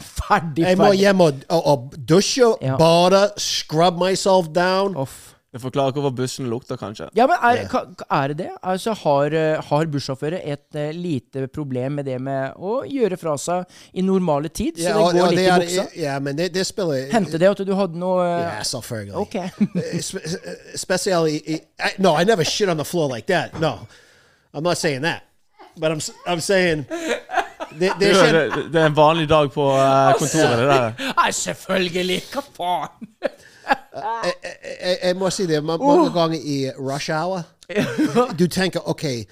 Ferdig, Jeg må ferdig. hjem og, og, og dusje, Ja. bade, scrub myself down. Off. Det forklarer hvorfor bussen lukter, kanskje. Ja, men er, ka- ka- er det det? Altså, har, eh, har bussjåfører et eh, lite problem med det med å gjøre fra seg i normale tid? Så Ja, og- det går og litt det er- i buksa? Ja, men det, det spiller Hendte det at du hadde noe eh, Ja, selvfølgelig. Ok. Spe- Uh, Especially, uh, I, no, I never shit on the floor like that. No, I'm not saying that. But I'm s- I'm saying Det, det Det, skjer det, det er en vanlig dag på eh, kontoret, det der. Nei, selvfølgelig! Hva faen? jeg, jeg- jeg, jeg Eh, må si det. ma- Mange Uh. ganger i rush hour Du tenker OK eh,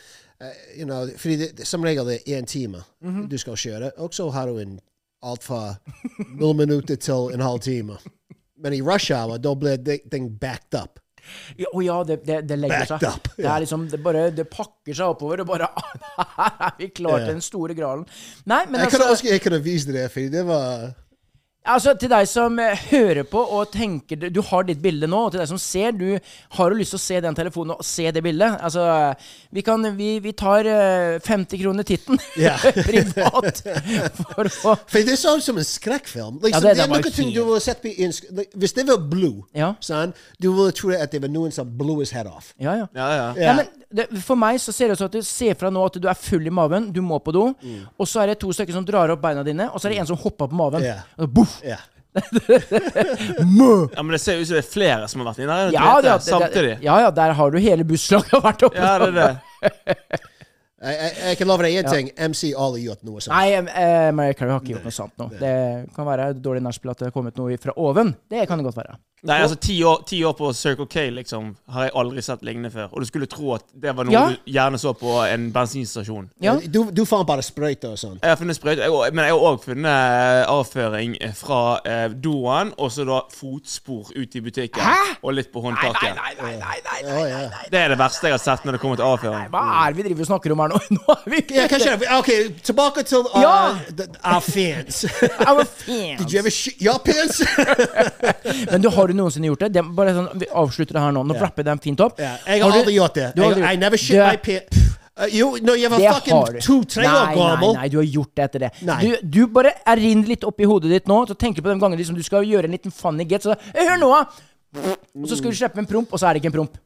you know, Fordi det, det- som regel det er én time Mhm. du skal kjøre, og så har du en alt fra noen minutter til en halv time. Men i rush hour, da blir det- ting backed up. Ja, Å ja, det, det, det legger Backed seg. up, Det ja. er liksom, det bare det pakker seg oppover, og bare Her er vi klar Ja. til den store gralen. Nei, men Jeg kunne altså, ønske jeg kunne vist det, fordi det var altså Til deg som eh, hører på og tenker Du har ditt bilde nå, og til deg som ser Du har jo lyst til å se den telefonen og se det bildet. Altså, vi, kan, vi, vi tar eh, 50 kroner titten Ja. privat for å For det så ut som en skrekkfilm. Liksom, Ja, det- det, det er var noen ting du helt- ville sett på i en sk like, Hvis det var blue, Ja. sant, du ville tro at det var noen som blew his head off. Ja, ja. Ja, ja. Ja, men det, for meg så ser det ut som at du ser fra nå at du er full i maven, du må på do, og så er det to stykker som drar opp beina dine, og så er det en som hopper på maven. Ja. Og så boff! Ja. ja, men det ser ut som det er flere som har vært inne der. vet Ja, du, ja, det- samtidig. det- ja, ja, der har du hele busslaget vært oppe. Ja, det er det. Jeg, jeg, jeg kan love deg én ting. MC Ali gjort noe sånt. Nei, eh, Mariah Carey har ikke gjort noe sant nå. Det kan være dårlig nachspiel at det har kommet noe fra oven. Det kan det godt være. Nei, altså ti år, ti år på Circle K liksom, har jeg aldri sett lignende før. Og du skulle tro at det var noe Ja. du gjerne så på en bensinstasjon. Ja. Du, du fant bare sprøyter og sånt. Jeg har funnet sprøyte, jeg har- men jeg har òg funnet eh, avføring fra eh, doen, og så da fotspor ut i butikken. Og litt på håndtaket. nei, nei, nei, Å, ja. Det er det verste jeg har sett når det kommer til avføring. Hva er det vi driver og snakker om her nå? Nå er vi Ja, kanskje, ok, tilbake til uh, Ja. the, our fans. Our fans. Did you ever shit your pants? Men du, har du noensinne gjort det? det er bare sånn, vi avslutter det her nå. Nå wrapper jeg den fint opp. ja, jeg har du- aldri gjort det. Du har aldri Jeg, gjort- I never shit Det- my pants. Uh, jo, når jeg var Det har du. fucking to-tre år Nei, gammel. Nei, nei, du har gjort det etter det. Nei. Du, du bare erinn litt oppi hodet ditt nå, så tenker du på de gangene liksom du skal gjøre en liten funny get. Så da, «Eh, hør nå, da! Og så skal du slippe en promp, og så er det ikke en promp.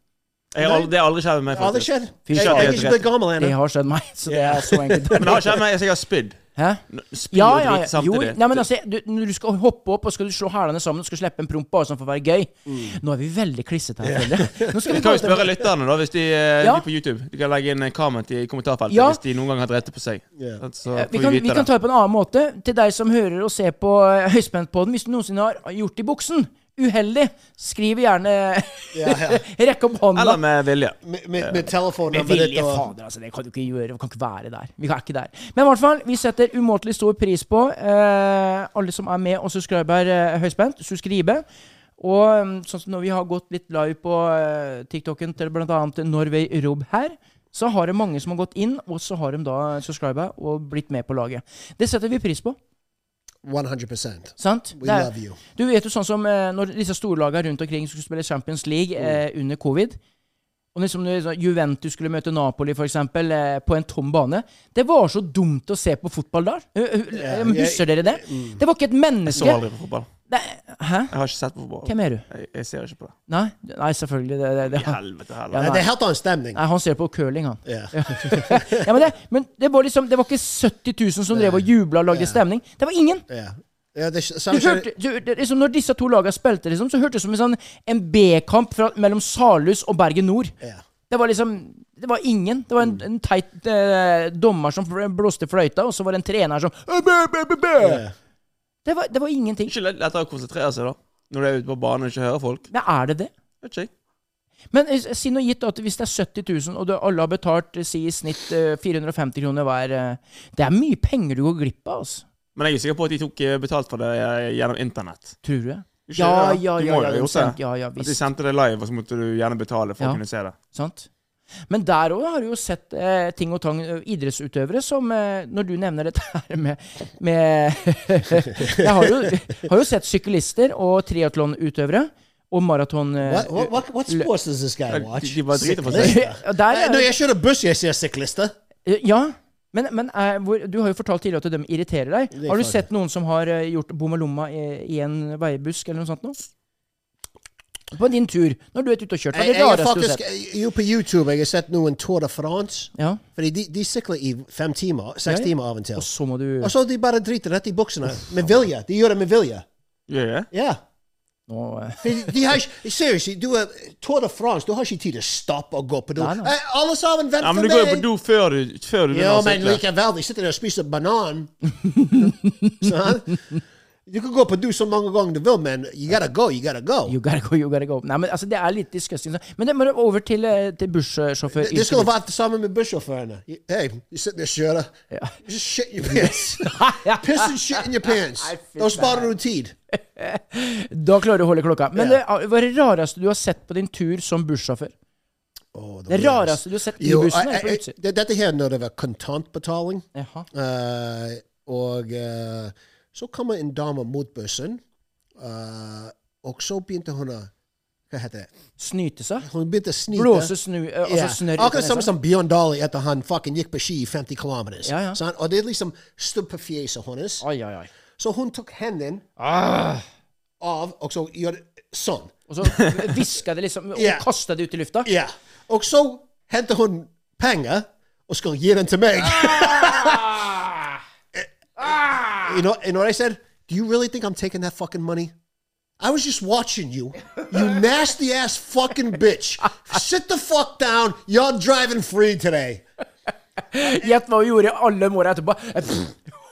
Jeg har aldri, det har aldri skjedd med meg. Aldri faktisk. skjedd. Fy Jeg, jeg faen. er ikke blitt gammel Det ennå. har skjedd meg, så det er så enkelt. Men det har skjedd meg, jeg har spydd. Hæ? Spyr Ja, ja, og drit ja. Jo, samtidig. nei, men altså, du, når du skal hoppe opp og skal du slå hælene sammen og skal slippe en promp bare sånn for å være gøy Nå er vi veldig klissete her, føler jeg. Nå skal Vi vi kan gå jo spørre til lytterne, da, hvis de, eh, Ja. de på YouTube. De kan legge inn en comment i kommentarfeltet Ja. hvis de noen gang har drept på seg. Sånn, Så får Eh, vi kan, vi vi vite kan det. ta det på en annen måte. Til deg som hører og ser på eh, Høyspentpodden, hvis du noensinne har gjort det i buksen, uheldig, skriv gjerne ja. Rekk opp hånda. Eller med vilje. Med, med, med Med telefonnummeret vilje, ditt og fader, altså. Det kan du ikke gjøre. Vi kan ikke være der. Vi er ikke der. Men i hvert fall, vi setter umåtelig stor pris på eh, alle som er med og subscriber eh, høyspent. Subscribe. Og mm, sånn som når vi har gått litt live på eh, TikToken til bl.a. Norway Rob her, så har det mange som har gått inn, og så har de da subscriba og blitt med på laget. Det setter vi pris på. 100 Sant? We Det er- love you. Du vet jo sånn som eh, når disse storlagene rundt omkring skulle spille Champions League Mm. eh, under covid og liksom når sånn Juventus skulle møte Napoli for eksempel, eh, på en tom bane. Det var så dumt å se på fotball der. Eh, eh, Ja, Husker dere det? Det var ikke et Jeg så menneske aldri på fotball. det, Hæ? Jeg har ikke sett på fotball. Hvem er du? Jeg, jeg ser ikke på det. Nei, nei selvfølgelig. Det, det, det. I helvete Ja, heller. Det er helt annen stemning. Nei, han ser på curling, han. Ja. Ja, men, det, men det var liksom Det var ikke 70 000 som drev og jubla og lagde stemning. Det var ingen! Ja. Ja, det, er- Du hørte, du, det- liksom, når disse to lagene spilte, liksom, så hørtes det ut som en, sånn, en B-kamp fra- mellom Salhus og Bergen Nord. Ja. Det var liksom Det var ingen. Det var en, en teit eh, dommer som fl- blåste fløyta, og så var det en trener som «Eh, bæ, bæ, bæ, bæ!» Ja. det, var, det var ingenting. Ikke lett- lettere å konsentrere seg, da. Når du er ute på banen og ikke hører folk. Men er det det? Vet ikke jeg. Men eh, si nå gitt at hvis det er 70 000, og du, alle har betalt eh, si i snitt eh, 450 kroner hver eh, Det er mye penger du går glipp av, altså. Men jeg er sikker på at de tok eh, betalt for det eh, gjennom internett. Tror du det? Ikke Ja, det, da? ja, Du ja, må jo ja, ha de gjort sendte- det. ja, ja, At de visst. sendte det live, og så måtte du gjerne betale for Ja. å kunne se det. Sant? Men der òg har du jo sett eh, ting og tang eh, idrettsutøvere som eh, Når du nevner dette her med, med Jeg har jo, har jo sett syklister og triatlonutøvere og maraton... eh, What, what, what, what sports does this guy De, watch? de bare driter på seg. Syklister. Ja, der Nei, er- Når jeg kjører buss, jeg ser syklister. Eh, Ja. Men, men eh, hvor, du har jo fortalt tidligere at de irriterer deg. Det er Har du klart. sett noen som har eh, gjort bom og lomma i, i en veibusk eller noe sånt? Nå? På din tur, når du er ute og kjørt. Hva Jeg, er det jeg har rareste du har faktisk, sett? jo, på YouTube jeg har sett noen Tour de France. Ja. Fordi de, de sykler i fem timer, seks Ja, ja. timer av og til. Og så må du Oh, Altså- Og så de bare driter rett i buksene. Med vilje. De gjør det med vilje. Gjør de det? Ja. Nå eh, De, de har ikke, seriously, du er Tour de France, du har ikke tid til å stoppe og gå på do. Nei, nei. Eh, Alle sammen, vent Ja, for men du meg! går jo på do før du, før du Jo, begynner å men sykle. likevel, de sitter der og spiser banan. Sånn. Du kan gå på do så mange ganger du vil, men you gotta go, you gotta go. You gotta go, you gotta go. Nei, men altså, Det er litt disgusting. så- Men det må du over til, eh, til bussjåfør. Det- Det skulle vært sammen med bussjåførene. Hey, you sit there, kjører. Just shit in your pants. Piss and shit in your pants. Da sparer du tid. Da klarer du å holde klokka. Men Ja. det, hva er det rareste du har sett på din tur som bussjåfør? Åh, Det var- rareste du har sett i Jo, bussen, jeg- eller på jeg- utsiden? det- Dette her når det var kontantbetaling. Jaha. Eh, og eh, så kommer en dame mot bussen, eh, og så begynte hun å Hva heter det? Snyte seg? Hun begynte å snite. Blåse snu, eh, altså Ja. snørr ut av Akkurat samme nesa. som Bjørn Dali etter han fucking gikk på ski i 50 km. Ja, ja. Og det liksom stod på fjeset hennes. Ai, ai, ai. Så hun tok hendene Ah. av, og så gjorde sånn. Og så hviska det liksom, og Ja. kasta det ut i lufta. Ja. Og så hentet hun penger og skulle gi den til meg. Eh, you, know, you know what I said? Do you really think I'm taking that fucking money? I was just watching you. You nasty ass fucking bitch. Sit the fuck down. You're driving free today. Gjett hva hun gjorde alle måla etterpå.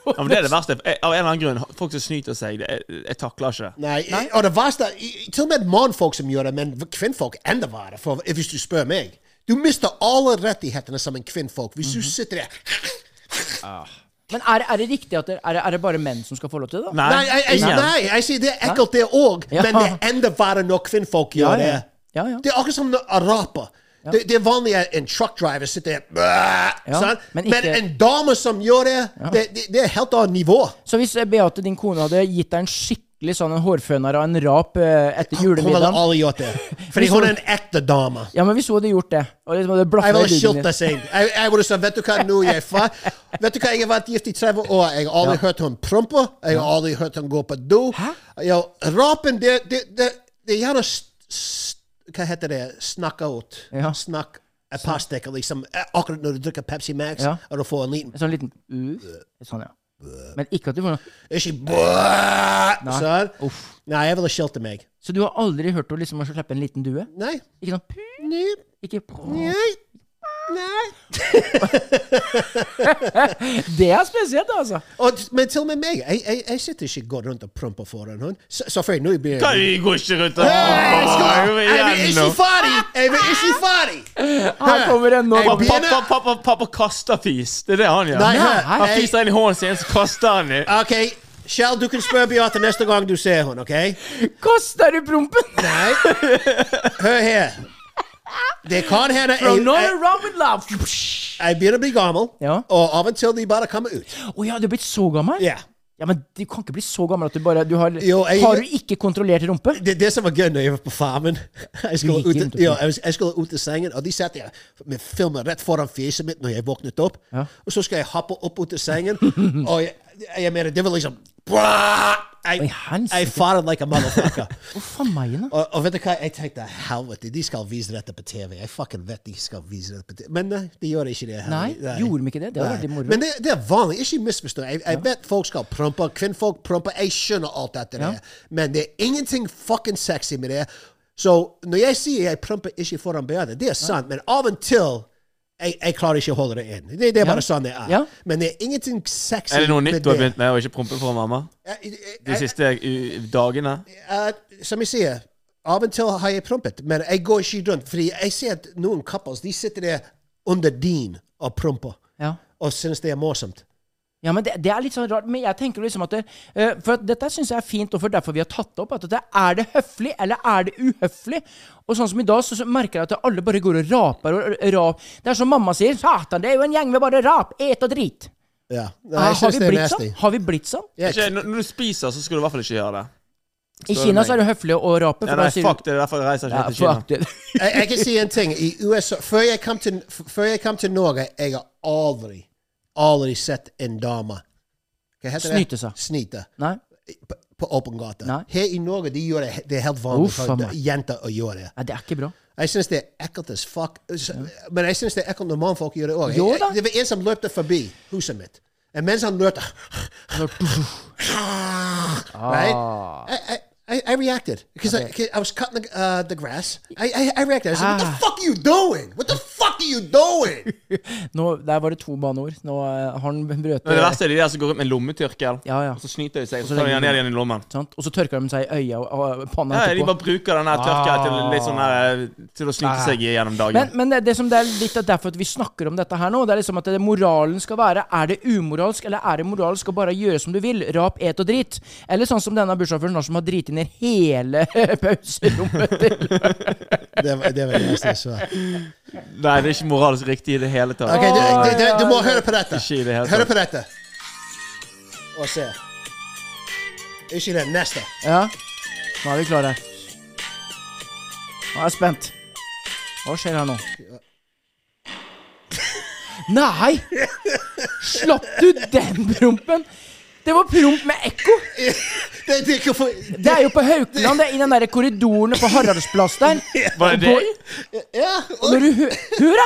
Ja, men det er det verste. Jeg, av en eller annen grunn, folk som snyter seg, det, jeg, jeg takler ikke det. Nei, og det verste i- Til og med mannfolk som gjør det, men kvinnfolk enda verre, for hvis du spør meg. Du mister alle rettighetene som en kvinnfolk hvis du sitter der. Men er, det- er det riktig at det er, det- er det bare menn som skal få lov til det? da? Nei, Nei, jeg, jeg, ingen. nei, jeg sier det er ekkelt, det òg, Ja. men det er enda verre når kvinnfolk gjør det. Ja, ja. Det er akkurat som når araber. Det, det er vanlig at en truckdriver sitter der Ja, sant? men men, ikke- en dame som gjør det, det, det, det er helt annet nivå. Så hvis eh, Beate, din kone, hadde gitt deg en skikkelig sånn en hårføner og en rap eh, etter Hun ville julemiddagen aldri gjort det, fordi hun er en ekte dame. Ja, men hvis hun hadde gjort det og liksom hadde blaffa Jeg ville i ryggen skilt din. deg seg. Jeg, jeg ville sagt, vet du hva, nå er jeg far. Vet du hva, jeg har vært gift i 30 år. Jeg har aldri hørt hun prompe. Jeg har aldri hørt hun gå på do. Jo, rapen, det, det, det, det gjør det s- s- Hva heter det? Snakke ut. Ja. Snakk. Et par stykker, liksom. Akkurat når du drikker Pepsi Max, Ja. og du får en liten En sånn liten uh, Sånn, ja. Men ikke at du får noe Ikke bæ- Nei. Sånn. Uff. Nei, jeg ville skilt meg. Så du har aldri hørt henne liksom slippe en liten due? Nei. Ikke sånn pu- Nei. Ikke Nei. Nei. Det er spesielt, altså. Og, men til og med meg. Jeg, jeg, jeg sitter ikke godt rundt og promper foran hun. Så- Selvfølgelig, nå blir Hva, jeg vi går ikke rundt og Hey, Oh, let's go. Kom Amy, igjen is nå. she funny? Amy, is she funny? Her kommer en nå. Hey, pappa. be- Pappa, pappa, pappa kaster fis. Det er det han gjør. Nei, her- han hei. fiser inn i hånden sin, så kaster han den. Okay, Shell, du kan spørre Beate neste gang du ser henne, OK? Kaster du prompen? Nei. Hør her. Det kan hende jeg, From jeg, Norway Round with Love. jeg begynner å bli gammel, Oh, Ja. og av og til de bare kommer ut. Å ja, du er blitt så gammel? Ja. Ja, men Du kan ikke bli så gammel at du bare du har, Jo, jeg- har du ikke kontrollert rumpe? Det, det som var gøy når jeg var på Farmen Jeg skulle, gikk ut, rundt og ja, jeg, jeg skulle ut av sengen, og de satt der med filmen rett foran fjeset mitt når jeg våknet opp. Og så skal jeg hoppe opp ut av sengen, og jeg, jeg mener, det var liksom Oi, Oh, Jeg, helsike. jeg farted like a motherfucker. Faen meg, da. Og, og vet du hva, jeg tenkte helvete, de skal vise dette på TV. Jeg fucking vet de skal vise dette på TV. Men nei, de gjør ikke det. Nei, gjorde de ikke det? Det hadde Nei. vært litt moro. Men det, det er vanlig. Ikke misforstå. Jeg, jeg vet folk skal prompe. Kvinnfolk promper. Jeg skjønner alt dette der. Men det er ingenting fucking sexy med det. Så når jeg sier jeg promper ikke foran Beate, det er sant, men av og til jeg, jeg klarer ikke å holde det inn. Det, det er bare sånn det er. Ja. Men det er ingenting sexy Er det noe nytt du har det. begynt med å ikke prompe for mamma? Jeg- jeg- De siste eh, u- dagene? Eh, som jeg sier, av og til har jeg prompet, men jeg går ikke rundt. Fordi jeg ser at noen couples de sitter der under din og promper Ja. og synes det er morsomt. Ja, men det, det er litt sånn rart. Men jeg tenker liksom at det, eh, For at dette syns jeg er fint, og for derfor vi har tatt det opp. At det, er det høflig, eller er det uhøflig? Og sånn som i dag, så, så merker jeg at alle bare går og raper og og rap. Det er som mamma sier. Satan, det er jo en gjeng med bare rap, et og drit. Ja. Nei, Ah, jeg har, synes vi det er blitt nasty. sånn? har vi blitt sånn? Ja, Ikke, når når du spiser, så skal du i hvert fall ikke gjøre det. I Kina så er det høflig å rape. For Ja, nei, da sier du, fuck det. Det er derfor jeg reiser ikke ja, helt til Kina. fuck det. jeg, jeg kan si en ting. I USA, før, jeg kom til, f- før jeg kom til Norge, jeg har aldri, aldri sett en dame Hva heter det? Snyte seg. Snyte. Nei. På, på åpen gate. Nei. Her i Norge de gjør det, det er helt vanlig Uff, faen for meg. jenter å gjøre det. Nei, det er ikke bra. Jeg syns det er ekkelt as fuck. Så- Men jeg syns det er ekkelt når mannfolk gjør det Jo òg. da. Det var en som løpte forbi huset mitt. Og mens han løpte Når- right? jeg, jeg, jeg I, I reacted because I, 'cause I was cutting the, uh, the grass. I, I, I reacted. I said, "What the fuck are you doing? What the fuck are you doing?" Nå, der var det to banneord. Nå eh, har han brøt Men det verste er de der som går rundt med lommetørkel, Ja, ja. og så snyter de seg, og så så tar de legger den de- ned igjen i lommen. sant? Og så tørker de seg i øya og, og panna Ja, de etterpå. bare bruker den her tørkeren til, litt sånn her, til å snyte seg i gjennom Ah. Men, dagen. men det, det som det er litt av derfor at vi snakker om dette her nå, det er liksom at det moralen skal være Er det umoralsk, eller er det moralsk å bare gjøre som du vil? Rap, et og drit? Eller sånn som denne bussjåføren nå, som har driti ned hele pauserommet til det, var- det var det neste jeg så. Nei, det er ikke moralsk riktig i det hele tatt. Ok, du, du, du, du må høre på dette. Ikke i det hele Høre tatt. på dette. Og se. Ikke den neste. Ja. Nå er vi klare. Nå er jeg spent. Hva skjer her nå? Nei! Slapp du den prompen? Det var promp med ekko! Det, det, er ikke for, Det er jo på Haukeland, det er i den der korridoren på Haraldsplass der. Var det Boy, det? ja, og når du hø Hurra!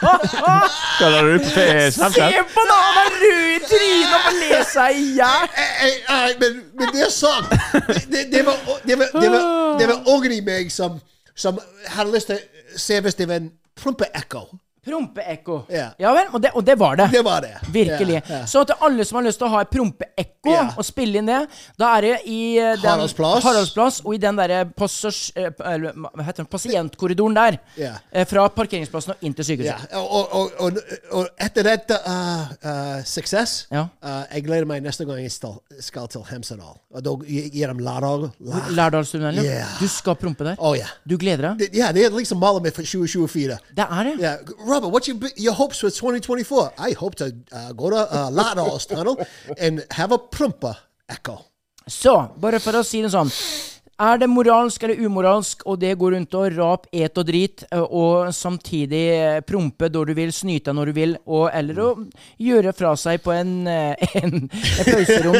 Kaller du det på Eh, Se Snapchat? på da, han er rød i trynet og må le seg i hjel! Ei, ei, ei, men, men det er sånn. Det, det, det, var, det, var, det, var, det var ungen i meg som, som hadde lyst til å se hvis det var en prompe-ekko. Prompeekko. Ja. Ja vel, og det, og det var det. Det var det. Virkelig. Ja, ja. Så til alle som har lyst til å ha et prompeekko Ja. og spille inn det, da er det i eh, den, Haraldsplass. Haraldsplass, og i den derre passasj- eh, eller hva heter den, pasientkorridoren der. Ja. eh, Fra parkeringsplassen og inn til Ja, sykehuset. og, og, og, og etter dette uh, uh, suksess Ja. uh, Jeg gleder meg neste gang jeg skal, skal til Hemsedal. Og da gir de Lardal. Lar- Lærdalstunnelen. Ja. Du skal prompe der. Å, ja. Du gleder deg. Det- Ja, det er liksom målet mitt for 2024. Det er det. Yeah, Robert, what's your bi- your hopes for 2024? I hope to uh, go to uh, Lardal's Tunnel and have a prumper echo. Så, bare for å si det sånn. Er det moralsk eller umoralsk, og det går rundt og rap, et og drit, eh, og samtidig eh, prompe da du vil, snyte når du vil, og, eller å gjøre fra seg på en, eh, en, et pauserom,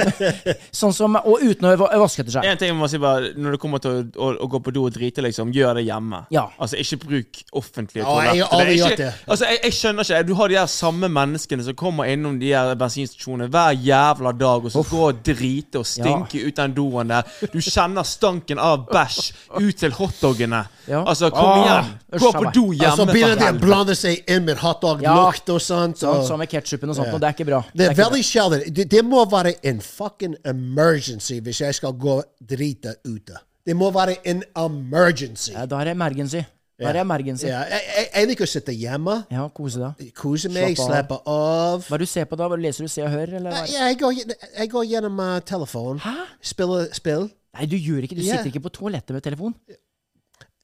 sånn som, og uten å va- vaske etter seg? En ting jeg må si bare, Når det kommer til å, å, å gå på do og drite, liksom, gjør det hjemme. Ja. Altså, Ikke bruk offentlige Ja, jeg har toaletter. Det er aldri ikke- gjort det. Altså, jeg, jeg skjønner ikke. Du har de her samme menneskene som kommer innom de her bensinstasjonene hver jævla dag og så går og driter og stinker ut den doen der. Du kjenner stanken av bæsj ut til hotdogene. Ja. Altså, kom Ah, igjen. Gå usch, på meg. do hjemme. Altså, for begynner de å helvete. blande seg inn med hotdog-lukt og sånt. Sånn Og, som med ketsjupen og sånt, og det er ikke bra. det er ikke bra. veldig sjelden. Det, det må være en fucking emergency hvis jeg skal gå drite ute. Det må være en emergency. Ja, Da er det emergency. Da er det emergency. Ja, jeg, jeg, jeg liker å sitte hjemme, Ja, kose deg. kose meg, Slapp slappe av. Hva er det du ser på da? Hva leser du Se og Hør, eller hva? er det? Ja, jeg går, jeg går gjennom uh, telefon. Spiller spill. Nei, du gjør ikke Du Ja. sitter ikke på toalettet med telefon.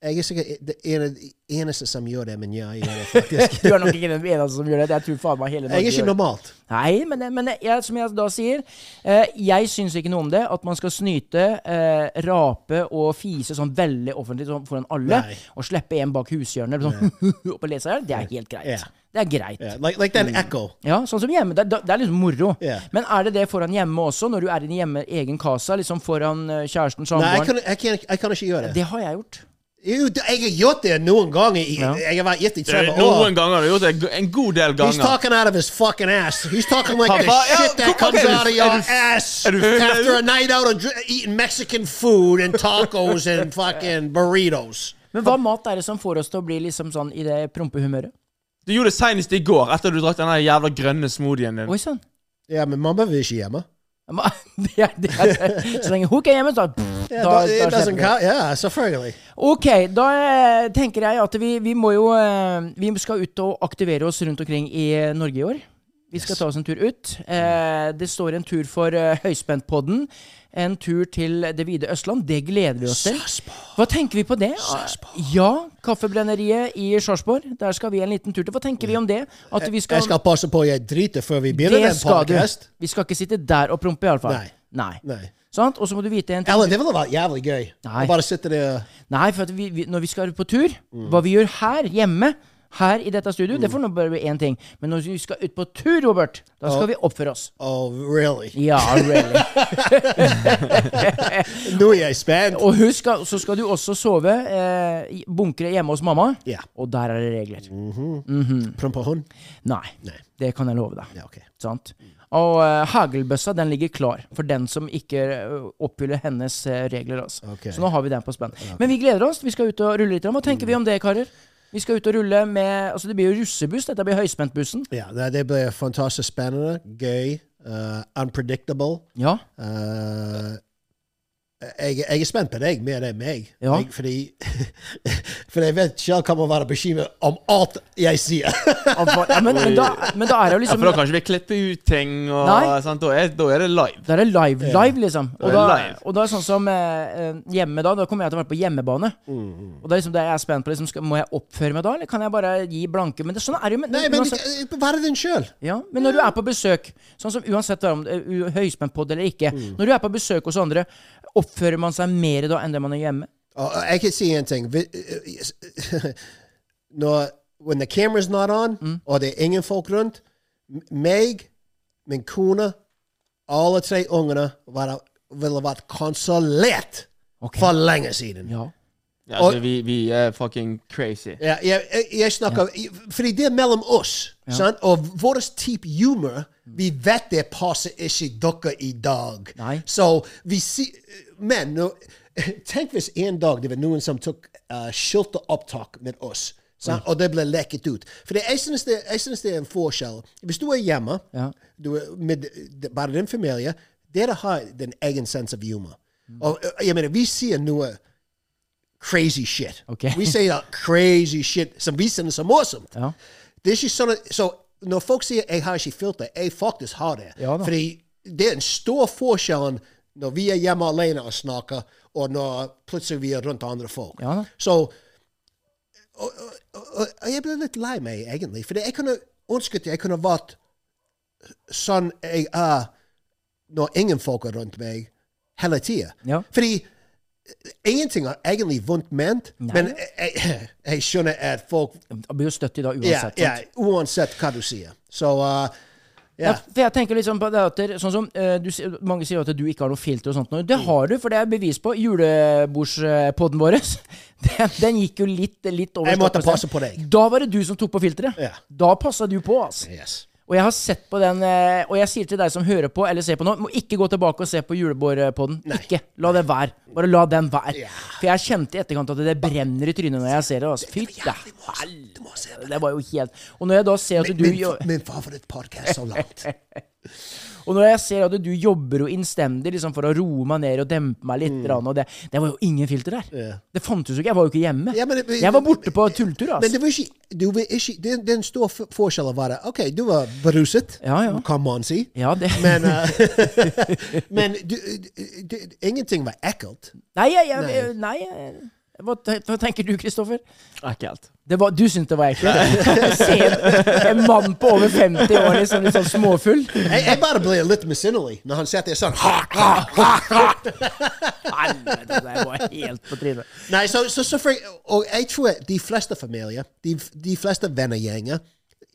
Jeg er sikkert det ene- eneste som gjør det, men ja, jeg gjør det faktisk. Du er nok ikke den eneste som gjør det. Jeg tror faen meg hele Jeg er Norge gjør ikke det. normalt. Nei, men, det- men det- jeg, som jeg da sier, eh, jeg syns ikke noe om det. At man skal snyte, eh, rape og fise sånn veldig offentlig sånn foran alle. Nei. Og slippe en bak hushjørnet sånn, opp og lese her. Det er helt greit. Ja. Det er greit. Yeah, like, like that echo. Ja, sånn som hjemme. Det, det det er liksom moro. Ja. Men er det det foran hjemme også, når du er i din hjemme, egen casa, liksom foran eh, kjæresten, Nei, jeg samboeren? kan, jeg, kan, jeg kan ikke gjøre det. Det har jeg gjort. Jo, det- jeg har gjort det noen ganger. i- Jeg har vært gift i 30 år. Noen ganger har du gjort det. En god del ganger. Oh, He's talking out of his fucking ass. He's talking like the Papa, ja, shit that kom- comes er du- out of er your du- ass er du- after a night out of dr- eating Mexican food and tacos and fucking burritos. Men hva mat er det som får oss til å bli liksom sånn i det prompehumøret? Du gjorde det senest i går, etter du drakk den her jævla grønne smoothien din. Oi sann. Ja, men mamma vil ikke hjemme. Ma- Det er, det er, så lenge hun ikke er hjemme, så Ja, da, da- da it doesn't slipper vi. count. Ja, selvfølgelig. Ok, da eh, tenker jeg at vi, vi må jo eh, Vi skal ut og aktivere oss rundt omkring i eh, Norge i år. Vi skal ta oss en tur ut. Eh, det står en tur for eh, Høyspentpodden. En tur til det vide Østland. Det gleder vi oss til. Hva tenker vi på det? Ja, Kaffebrenneriet i Sarpsborg. Der skal vi en liten tur til. Hva tenker vi om det? At vi skal, Jeg skal passe på jeg driter før vi begynner det den skal du. podcast. Vi skal ikke sitte der og prompe, iallfall. Nei. Nei. Nei. Nei. Sant? Og så må du vite en ting. Ellen, det ville vært jævlig gøy. Nei. Å bare sitte der Nei, for at vi, vi, når vi skal på tur, hva vi gjør her hjemme, her i dette studioet, det får nå bare bli én ting. Men når vi skal ut på tur, Robert, da skal vi oppføre oss. Oh, really? Ja, really. Nå er jeg spent. Og husk, at- så skal du også sove eh, i bunkere hjemme hos mamma. Ja. Og der er det regler. Promp på hund? Nei, det kan jeg love deg. Ja, ok. Sant? Og eh, haglbøssa den ligger klar for den som ikke eh, oppfyller hennes eh, regler. Altså. Ok. Så nå har vi den på spenn. Men vi gleder oss. Vi skal ut og rulle litt. Hva tenker vi om det, karer? Vi skal ut og rulle med Altså, det blir jo russebuss. Dette blir høyspentbussen. Ja, det, det blir fantastisk spennende, gøy, eh, unpredictable. Ja. Eh, jeg, jeg er spent på deg mer enn meg. Ja. Jeg, fordi, for jeg vet Kjell kommer å være bekymret om um, alt jeg sier. ja men, men, da, men da er det jo Ja, liksom for da kan ikke vi klippe ut ting. Og, Nei. sant? Da, er, da er det live. Da er det live, live liksom. Og er da, det live. og da er det sånn som eh, eh, hjemme da, da kommer jeg til å være på hjemmebane. Mm, Og det er liksom det jeg er spent på. Liksom, skal, må jeg oppføre meg da, eller kan jeg bare gi blanke? Men det, sånn er det jo. Men, Nei, men uansett- eh, Vær den sjøl. Ja, men når du er på besøk, sånn som uansett om det er u- høyspent på det eller ikke Mm. Når du er på besøk hos andre, oppfører man seg mer da enn det man er hjemme? Og og jeg kan si en ting. Vi- Når when the camera's not on, og det er ingen folk rundt m- Meg, min kone, alle tre ungene var- ville vært konsolert Ok. for lenge siden. Ja. Ja, altså, vi, vi er fucking crazy. Ja, jeg, jeg- jeg snakker Fordi det er mellom oss. Sant? Og vår type humor Vi vet det passer ikke dere i dag. Nei. Så vi si, Men nå, tenk hvis en dag det var noen som tok uh, skilteopptak med oss, sant? og det ble leket ut. For jeg synes det, jeg synes det er en forskjell. Hvis du er hjemme Ja. du er med d- bare din familie er Dere har den egen sense of humor. Og eh, jeg mener, vi sier noe crazy shit. Ok. Vi sier crazy shit som vi synes er morsomt. Ja. Det er ikke sånn at, så når folk sier 'jeg har ikke filter', jeg faktisk har det. Ja da. Fordi det er en stor forskjell når vi er hjemme alene og snakker, og når plutselig vi er rundt andre folk. Ja da. Så og, og, og, og jeg ble litt lei meg, egentlig. For jeg kunne ønsket jeg kunne vært sånn jeg er når ingen folk er rundt meg hele tida. Ja. Fordi ingenting er egentlig vondt ment, men jeg, jeg, jeg skjønner at folk Det blir jo støtt i dag ja, uansett. sant? ja, Uansett hva du sier. Så uh, ja. Ja, for jeg tenker liksom på det at det- sånn som, eh, du, sier- Mange sier at du ikke har noe filter og sånt. nå. Mm. Det har du, for det er bevis på. Julebordspodden vår den, den gikk jo litt, litt over Jeg stokk måtte og stein. passe på deg. Da var det du som tok på filteret. Ja. Da passa du på, altså. Yes. Og jeg har sett på den, eh, og jeg sier til deg som hører på eller ser på nå, må ikke gå tilbake og se på julebordpodden. Ikke. La det være. Bare la den være. For jeg kjente i etterkant at det brenner i trynet når jeg ser det. Altså. Fy Du må se det var jo helt Og når jeg da ser at Min, du min, jo- min favorittpodkast så langt. Og når jeg ser at du jobber jo innstendig liksom, for å roe meg ned og dempe meg litt, Mm. grann, og det, det var jo ingen filter der. Det fantes jo ikke. Jeg var jo ikke hjemme. Ja, men det- jeg var borte på tulltur. Men Altså. det var ikke, du var ikke det, det er en stor f- forskjell å være OK, du var beruset, Ja, ja. kan man si. Ja, det Men, uh, men du, du- du- ingenting var ekkelt. Nei, jeg, jeg, nei jeg, hva, te- hva tenker du, Kristoffer? Ekkelt. Det var, du syntes det var ekkelt? Se en- en mann på over 50 år liksom litt sånn småfull? Jeg, jeg bare ble litt misunnelig når han satt der sånn. Ha, ha, ha. Helvete, det var helt på trynet. Nei, så, så, så for, oh, og jeg tror at de fleste familier, de, de fleste vennegjenger,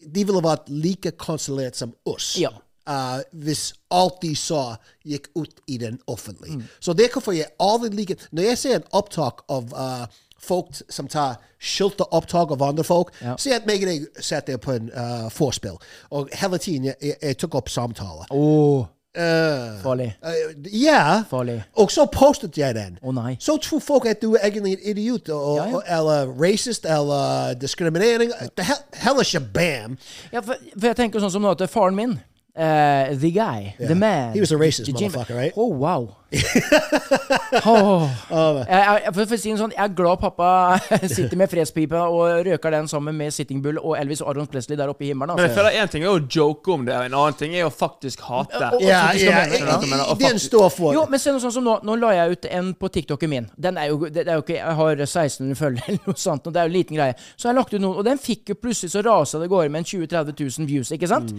de ville vært like konsulert som oss. Ja. eh, hvis alt de sa, gikk ut i den offentlige. Så det er hvorfor jeg aldri liker Når jeg ser en opptak av eh, folk som tar skilteopptak av andre folk Se at meg og deg satt der på en eh, vorspiel, og hele tiden jeg, jeg, jeg tok opp samtaler. Å, Eh, farlig. Eh, Ja. Farlig. Og så postet jeg den. Å, nei. Så tror folk at du er egentlig en idiot og, Ja, ja. og- eller racist eller diskriminering. The hell, hella shabam. Ja, for, for jeg tenker sånn som nå at faren min eh, the guy, the man He was a racist the gym- motherfucker, right? Oh, wow. Åh. jeg, jeg, for, for å si det sånn, jeg er glad pappa sitter med fredspipa og røker den sammen med Sitting Bull og Elvis Aron Presley der oppe i himmelen. Men jeg Altså. føler én ting er å joke om det, og en annen ting er å faktisk hate. Og- Ja, så ja, er mener jeg at du mener- og den faktisk- står for Jo, men se noe sånn som nå, nå la jeg ut en på TikToken min. Den er jo, det det er jo ikke, Jeg har 1600 følgere eller noe sånt, og det er jo en liten greie. Så jeg lagt ut noen, og den fikk jo plutselig så rasa det går med en 20 000-30 000 views, ikke sant?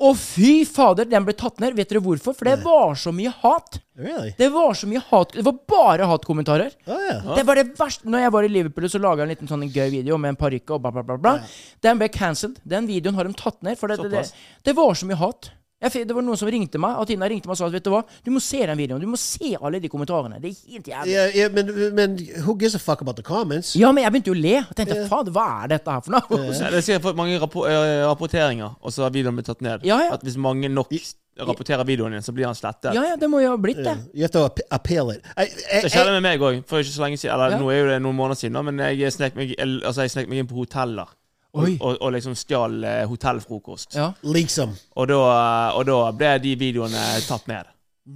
Og fy fader, den ble tatt ned. Vet dere hvorfor? For det var så mye hat. Really? Det var så mye hat Det var bare hatkommentarer. Oh, yeah. Det var det verste Når jeg var i Liverpool, så laga jeg en liten sånn gøy video med en parykk og bla, bla, bla. bla. Den ble cancelled. Den videoen har de tatt ned. For det, det, det, Såpass. det var så mye hat. Jeg, fikk- det var noen som ringte meg, og Tina ringte meg og sa at vet du hva, du må se den videoen. Du må se alle de kommentarene. Det er helt jævlig. Yeah, yeah, man, man, who gives a fuck about the comments? Ja, men jeg begynte jo å le. Jeg tenkte faen, hva er dette her for noe? Nei, Det er sikkert fått mange rappo eh, rapporteringer, og så har videoen blitt tatt ned. Ja, ja. At hvis mange nok s- rapporterer videoen din, så blir han slettet. Ja ja, det må jo ha blitt det. You have to ap- appeal it. I, I, Det skjedde med meg òg, for ikke så lenge siden. Eller nå er jo det noen måneder siden, da, men jeg snek meg, el- altså, jeg snek meg inn på hoteller. Og, Oi. og, og liksom stjal eh, hotellfrokost. Ja. leaks them. Og, da, og da ble de videoene tatt ned.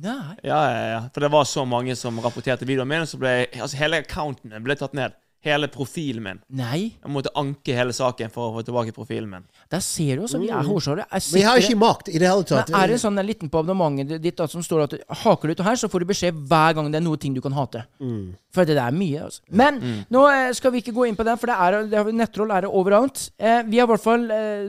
Nei. Ja, ja, ja. For det var så mange som rapporterte videoen min, så ble altså, hele accounten min ble tatt ned. Hele profilen min. Nei. Jeg måtte anke hele saken for å få tilbake profilen min. Der ser du, altså. Vi er hårsåre. Jeg Vi har sitter- ikke makt i det hele tatt. Men er det sånn en liten på abonnementet ditt da, som står at haker du ut her, så får du beskjed hver gang det er noe ting du kan hate. Mm. For det der er mye, altså. Men Mm. nå eh, skal vi ikke gå inn på den, for det er, det er nettroll er det overalt. Eh, vi har i hvert fall eh,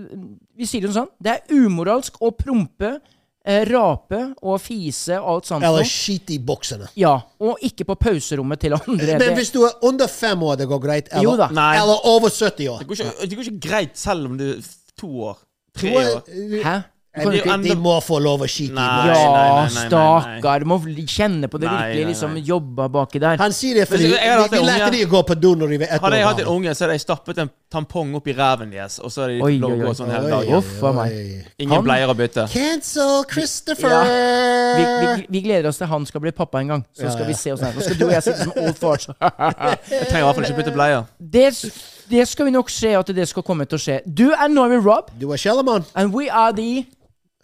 Vi sier det sånn. Det er umoralsk å prompe, eh, rape og fise og alt sånt. noe. Eller skit i buksene. Ja. Og ikke på pauserommet til andre. Men Det- hvis du er under fem år, det går greit. Eller, Jo da. Nei. eller over 70 år. Det går ikke, det går ikke greit selv om det er f- to år. Tre Tror år. jeg- Hæ? Du kan jo det er ikke jo De må få lov å skite i buksene. Nei. nei, nei, Ja, nei, nei. stakkar. Må kjenne på det Nei, nei, virkelig. Liksom nei. jobba baki der. Han sier det fordi Men jeg har hatt vi, vi en lærte unge- de å gå på do når de var ett år Hadde jeg hatt en gammel. unge, så hadde jeg stappet en tampong opp i ræven deres, og så hadde de Oi, fått lov oi, å gå oi. sånn hele Oi, dagen. oi. Uff a meg. Ingen bleier å bytte. Cancel Christopher! Ja. Vi, Eh. vi, vi gleder oss til han skal bli pappa en gang. Så skal vi se oss her. Nå skal du og jeg sitte som old farts. Jeg trenger i hvert fall ikke bytte bleier. Det, det skal vi nok se at det skal komme til å skje. Du er Norway Rob, Du er Shellemann. and we are the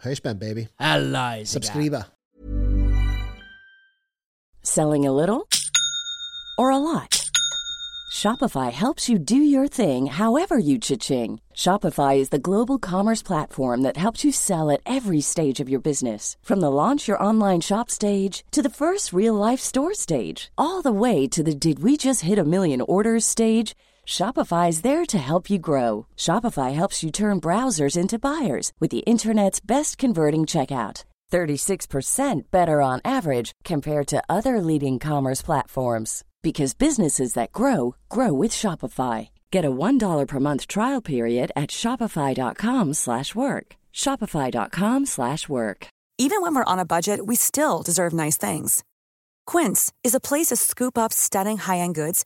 Høyspent, baby. allies. Subscriber. Selling a little or a lot? Shopify helps you do your thing however you cha-ching. Shopify is the global commerce platform that helps you sell at every stage of your business. From the launch your online shop stage to the first real life store stage, all the way to the did we just hit a million orders stage. Shopify is there to help you grow. Shopify helps you turn browsers into buyers with the internet's best converting checkout. 36% better on average compared to other leading commerce platforms because businesses that grow grow with Shopify. Get a $1 per month trial period at shopify.com/work. slash work. shopify.com/work. slash work. Even when we're on a budget, we still deserve nice things. Quince is a place to scoop up stunning high-end goods